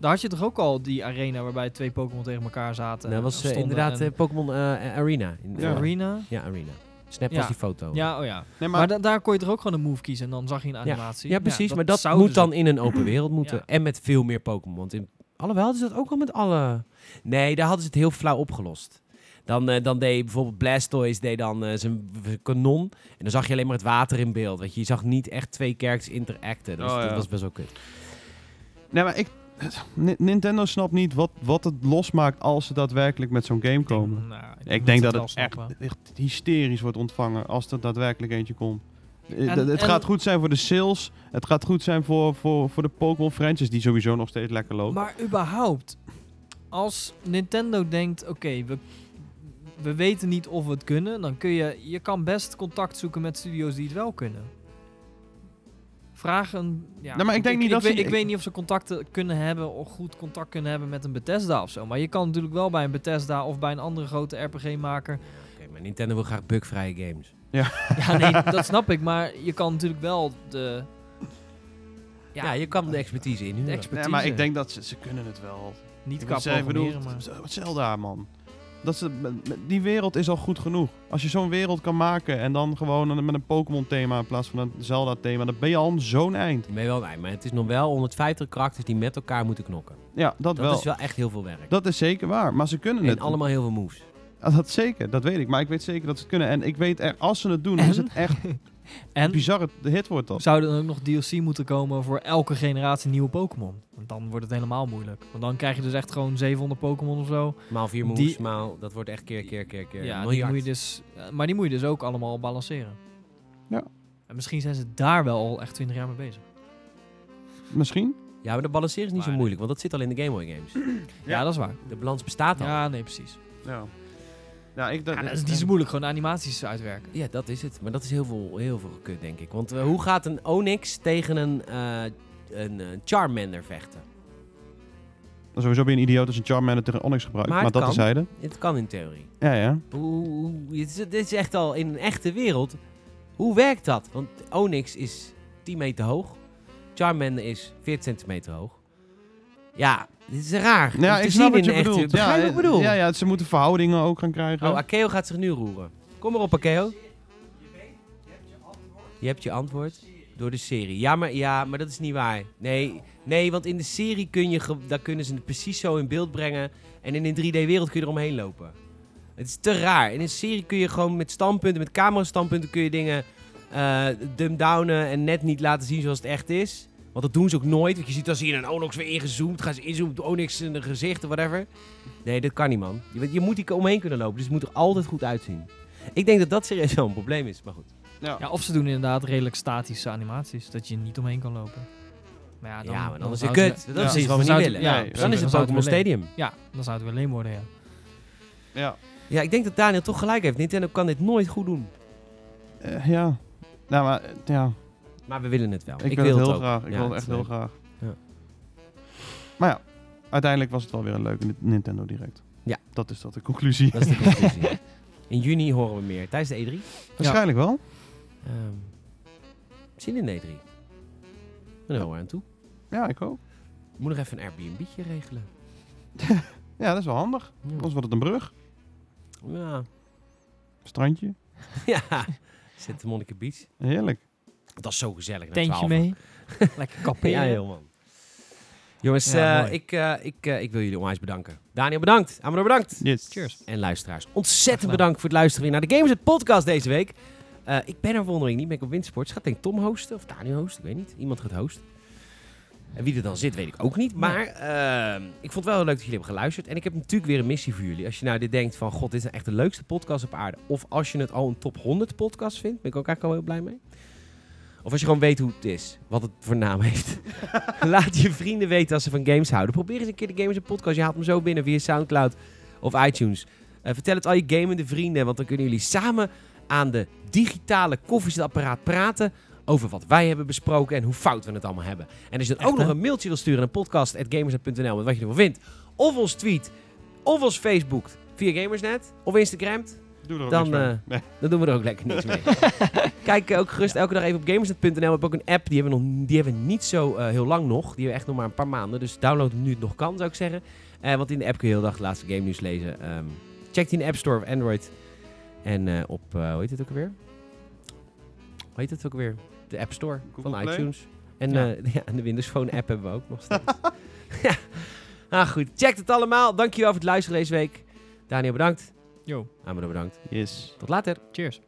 S3: Daar had je toch ook al die arena waarbij twee Pokémon tegen elkaar zaten.
S1: Nou, dat was eh,
S3: stonden
S1: inderdaad
S3: en-
S1: eh, Pokémon eh, Arena. In,
S2: Ja.
S1: eh,
S3: Arena.
S1: ja, Arena. Snap
S3: Ja.
S1: was die foto.
S3: Ja, oh ja.
S2: Nee,
S3: Maar, da- daar kon je toch ook gewoon een move kiezen en dan zag je een animatie.
S1: Ja, precies. maar dat
S3: zou
S1: moet
S3: dus
S1: dan
S3: ook-
S1: in een open wereld moeten.
S3: Ja.
S1: En met veel meer Pokémon. Want in... Alhoewel, hadden ze dat ook al met alle... Nee, daar hadden ze het heel flauw opgelost. Dan, eh, dan deed bijvoorbeeld Blastoise deed dan, eh, zijn w- w- kanon. En dan zag je alleen maar het water in beeld. Weet je. je zag niet echt twee characters interacten. Dat was,
S2: Oh, ja.
S1: dat was best wel kut.
S2: Nee, maar ik... Ni- Nintendo snapt niet wat, wat het losmaakt als ze daadwerkelijk met zo'n game
S3: Ik denk-
S2: komen.
S3: nou,
S2: Ik denk dat
S3: wel
S2: het echt,
S3: snappen.
S2: echt hysterisch wordt ontvangen als er daadwerkelijk eentje komt. Eh,
S3: En-
S2: dat- het
S3: en-
S2: gaat goed zijn voor de sales. Het gaat goed zijn voor, voor, voor de Pokémon franchise, die sowieso nog steeds lekker loopt.
S3: Maar überhaupt, als Nintendo denkt, oké, we, we weten niet of we het kunnen, dan kun je, je kan best contact zoeken met studio's die het wel kunnen. Vraag een. Ja,
S2: Nou, maar ik denk niet dat
S3: weet,
S2: ze-
S3: ik weet niet of ze contacten kunnen hebben of goed contact kunnen hebben met een Bethesda of zo. Maar je kan natuurlijk wel bij een Bethesda of bij een andere grote RPG-maker.
S1: Oké, maar Nintendo wil graag bugvrije games.
S3: ja, nee, dat snap ik. Maar je kan natuurlijk wel de,
S1: Ja,
S3: Ja.
S1: je kan de expertise in.
S3: de
S1: huren.
S3: expertise.
S2: Nee, maar ik denk dat ze, ze kunnen het wel.
S3: niet
S2: Ik
S3: qua
S2: wil zeggen, ik bedoel,
S3: programmeren, maar.
S2: z- Zelda, man. Dat ze, m- m- die wereld is al goed genoeg. Als je zo'n wereld kan maken en dan gewoon een- met een Pokémon-thema in plaats van een Zelda-thema, dan ben je al zo'n eind.
S1: Ben je wel bij, maar het is nog wel 150 karakters die met elkaar moeten knokken.
S2: Ja, dat,
S1: Dat
S2: wel.
S1: is wel echt heel veel werk.
S2: Dat is zeker waar, maar ze kunnen
S1: en
S2: het.
S1: allemaal heel veel moves.
S2: Ja, Dat zeker, dat weet ik. Maar ik weet zeker dat ze het kunnen. En ik weet, er, als ze het doen,
S3: En?
S2: is het echt
S3: En
S2: bizarre de hit wordt dat.
S3: Zou er dan ook nog DLC moeten komen voor elke generatie nieuwe Pokémon? Want dan wordt het helemaal moeilijk. Want dan krijg je dus echt gewoon 700 Pokémon of zo.
S1: Maal vier moves,
S3: Die-
S1: maal... Dat wordt echt keer, keer, keer, keer.
S3: ja, die
S1: miljard.
S3: moet je dus, eh, maar die moet je dus ook allemaal balanceren.
S2: Ja.
S3: En misschien zijn ze daar wel al echt 20 jaar mee bezig.
S2: Misschien?
S1: Ja, maar de balanceren is niet zo
S3: Maar-
S1: moeilijk, want dat zit al in de Game Boy games.
S3: Ja, dat is waar.
S1: De balans bestaat al. Ja,
S3: Ja, nee, precies.
S2: Ja. Ja, ik
S3: Ja, dat is niet zo moeilijk, gewoon animaties uitwerken.
S1: dat is het. Maar dat is heel veel, heel veel kut, denk ik. Want eh, hoe gaat een Onyx tegen een, eh, een eh, Charmander vechten?
S2: Sowieso ben je een idioot als je een Charmander tegen Onyx gebruikt.
S1: Maar
S2: Maar,
S1: het
S2: dat
S1: kan.
S2: tezijde.
S1: Het kan in theorie.
S2: Ja, ja.
S1: Hoe, hoe- dit, is, dit is echt al in een echte wereld. Hoe werkt dat? Want Onyx is 10 meter hoog. Charmander is 14 centimeter hoog. Ja, dit is raar.
S2: Nou, ja,
S1: om
S2: ik
S1: te
S2: snap
S1: zien
S2: wat
S1: in
S2: je
S1: een echte
S2: bedoelt.
S1: wereld. Begrijp je wat ik bedoel?
S2: Ja, ja, ze moeten verhoudingen ook gaan krijgen.
S1: Oh, Akeo gaat zich nu roeren. Kom maar op, Akeo. Je hebt je antwoord door de serie. Ja, maar, ja, maar dat is niet waar. Nee, nee want in de serie kun je ge- daar kunnen ze het precies zo in beeld brengen. En in een 3D-wereld kun je eromheen lopen. Het is te raar. In een serie kun je gewoon met standpunten, met camerastandpunten kun je dingen eh dumb-downen en net niet laten zien zoals het echt is. Want dat doen ze ook nooit. Want je ziet dan zie je een Onyx weer ingezoomd. Gaan ze inzoomen op de Onyx in de gezicht of whatever. Nee, dat kan niet, man. Je, want je moet die omheen kunnen lopen, dus het moet er altijd goed uitzien. Ik denk dat dat serieus wel een probleem is, maar goed.
S2: Ja.
S3: Ja, of ze doen inderdaad redelijk statische animaties, dat je niet omheen kan lopen. Maar ja, dan,
S1: ja, maar dan is het
S3: zou
S1: kut.
S3: ze-
S1: Dat is
S2: ja.
S1: iets wat we niet
S3: zou het-
S1: willen.
S3: ja,
S2: Nee,
S3: precies,
S1: dan is het
S3: zou
S1: Pokémon
S3: weer leem.
S1: Stadium.
S3: Ja, dan zou het weer leem worden, ja.
S2: ja.
S1: Ja, ik denk dat Daniel toch gelijk heeft. Nintendo kan dit nooit goed doen.
S2: Eh, ja. Nou, maar eh, ja.
S1: Maar we willen het wel.
S2: Ik, wil
S1: wil
S2: het heel
S1: ook.
S2: graag. Ik
S1: Ja,
S2: wil het
S1: het is
S2: echt heel
S1: leuk.
S2: graag.
S1: Ja.
S2: Maar ja, uiteindelijk was het wel weer een leuke Ni- Nintendo Direct.
S1: Ja.
S2: Dat is dat de conclusie.
S1: Dat is de conclusie. In juni horen we meer. Tijdens de E E3.
S2: Waarschijnlijk wel.
S1: Ehm, zin in de E E3. Daar gaan we aan toe.
S2: Ja, ik ook.
S1: Ik moet nog even een Airbnb'tje regelen.
S2: Ja, dat is wel handig. Anders wordt het een brug.
S1: Ja.
S2: Strandje.
S1: ja. Zit de Monniken Beach.
S2: Heerlijk.
S1: Dat is zo gezellig. na
S3: Tentje
S1: 12.
S3: mee, lekker kamperen.
S1: Ja, heel man. Jongens,
S3: Ja,
S1: eh,
S3: mooi.
S1: ik, eh, ik, eh, ik wil jullie onwijs bedanken. Daniel, bedankt. Amador, bedankt.
S2: Yes.
S3: Cheers.
S1: En luisteraars,
S3: Graag
S1: ontzettend
S3: gedaan.
S1: bedankt voor het luisteren weer naar de Gamers het podcast deze week. Eh, ik ben er wondering niet, ben ik op Windsports. Gaat denk ik Tom hosten of Daniel hosten, ik weet niet. Iemand gaat hosten. En wie er dan zit, weet ik ook niet. Maar ehm, ik vond het wel heel leuk dat jullie hebben geluisterd. En ik heb natuurlijk weer een missie voor jullie. Als je nou dit denkt van, god, dit is nou echt de leukste podcast op aarde. Of als je het al een top 100 podcast vindt, ben ik ook eigenlijk al heel blij mee. Of als je gewoon weet hoe het is, wat het voor naam heeft. Laat je vrienden weten als ze van games houden. Probeer eens een keer de Gamers en Podcast. Je haalt hem zo binnen via Soundcloud of iTunes. Eh, vertel het al je gamende vrienden, want dan kunnen jullie samen aan de digitale koffiezetapparaat praten over wat wij hebben besproken en hoe fout we het allemaal hebben. En als je dan
S3: Echt,
S1: ook nog
S3: hè?
S1: een mailtje wil sturen naar podcast.gamers.nl met wat je ervan vindt, of ons tweet, of ons Facebook via Gamersnet, of Instagram,
S2: Doe er ook
S1: Dan,
S2: niks mee.
S1: eh,
S2: Nee.
S1: dan doen we er ook lekker niks mee. Kijk eh, ook gerust elke dag even op gamersnet.nl. We hebben ook een app, die hebben we, nog, die hebben we niet zo eh, heel lang nog. Die hebben we echt nog maar een paar maanden. Dus download hem nu het nog kan, zou ik zeggen. Eh, want in de app kun je heel dag de laatste game nieuws lezen. Ehm, check die in de App Store of Android. En eh, op, eh, hoe heet het ook alweer? Hoe heet het ook alweer? De App Store
S2: Google
S1: van
S2: Play?
S1: iTunes. En
S3: Ja.
S1: eh, ja, en de Windows Phone app hebben we ook nog steeds. ja. Nou goed, check het allemaal. Dankjewel voor het luisteren deze week. Daniel bedankt.
S3: Yo,
S1: Amado bedankt.
S2: Yes.
S1: Tot later.
S3: cheers.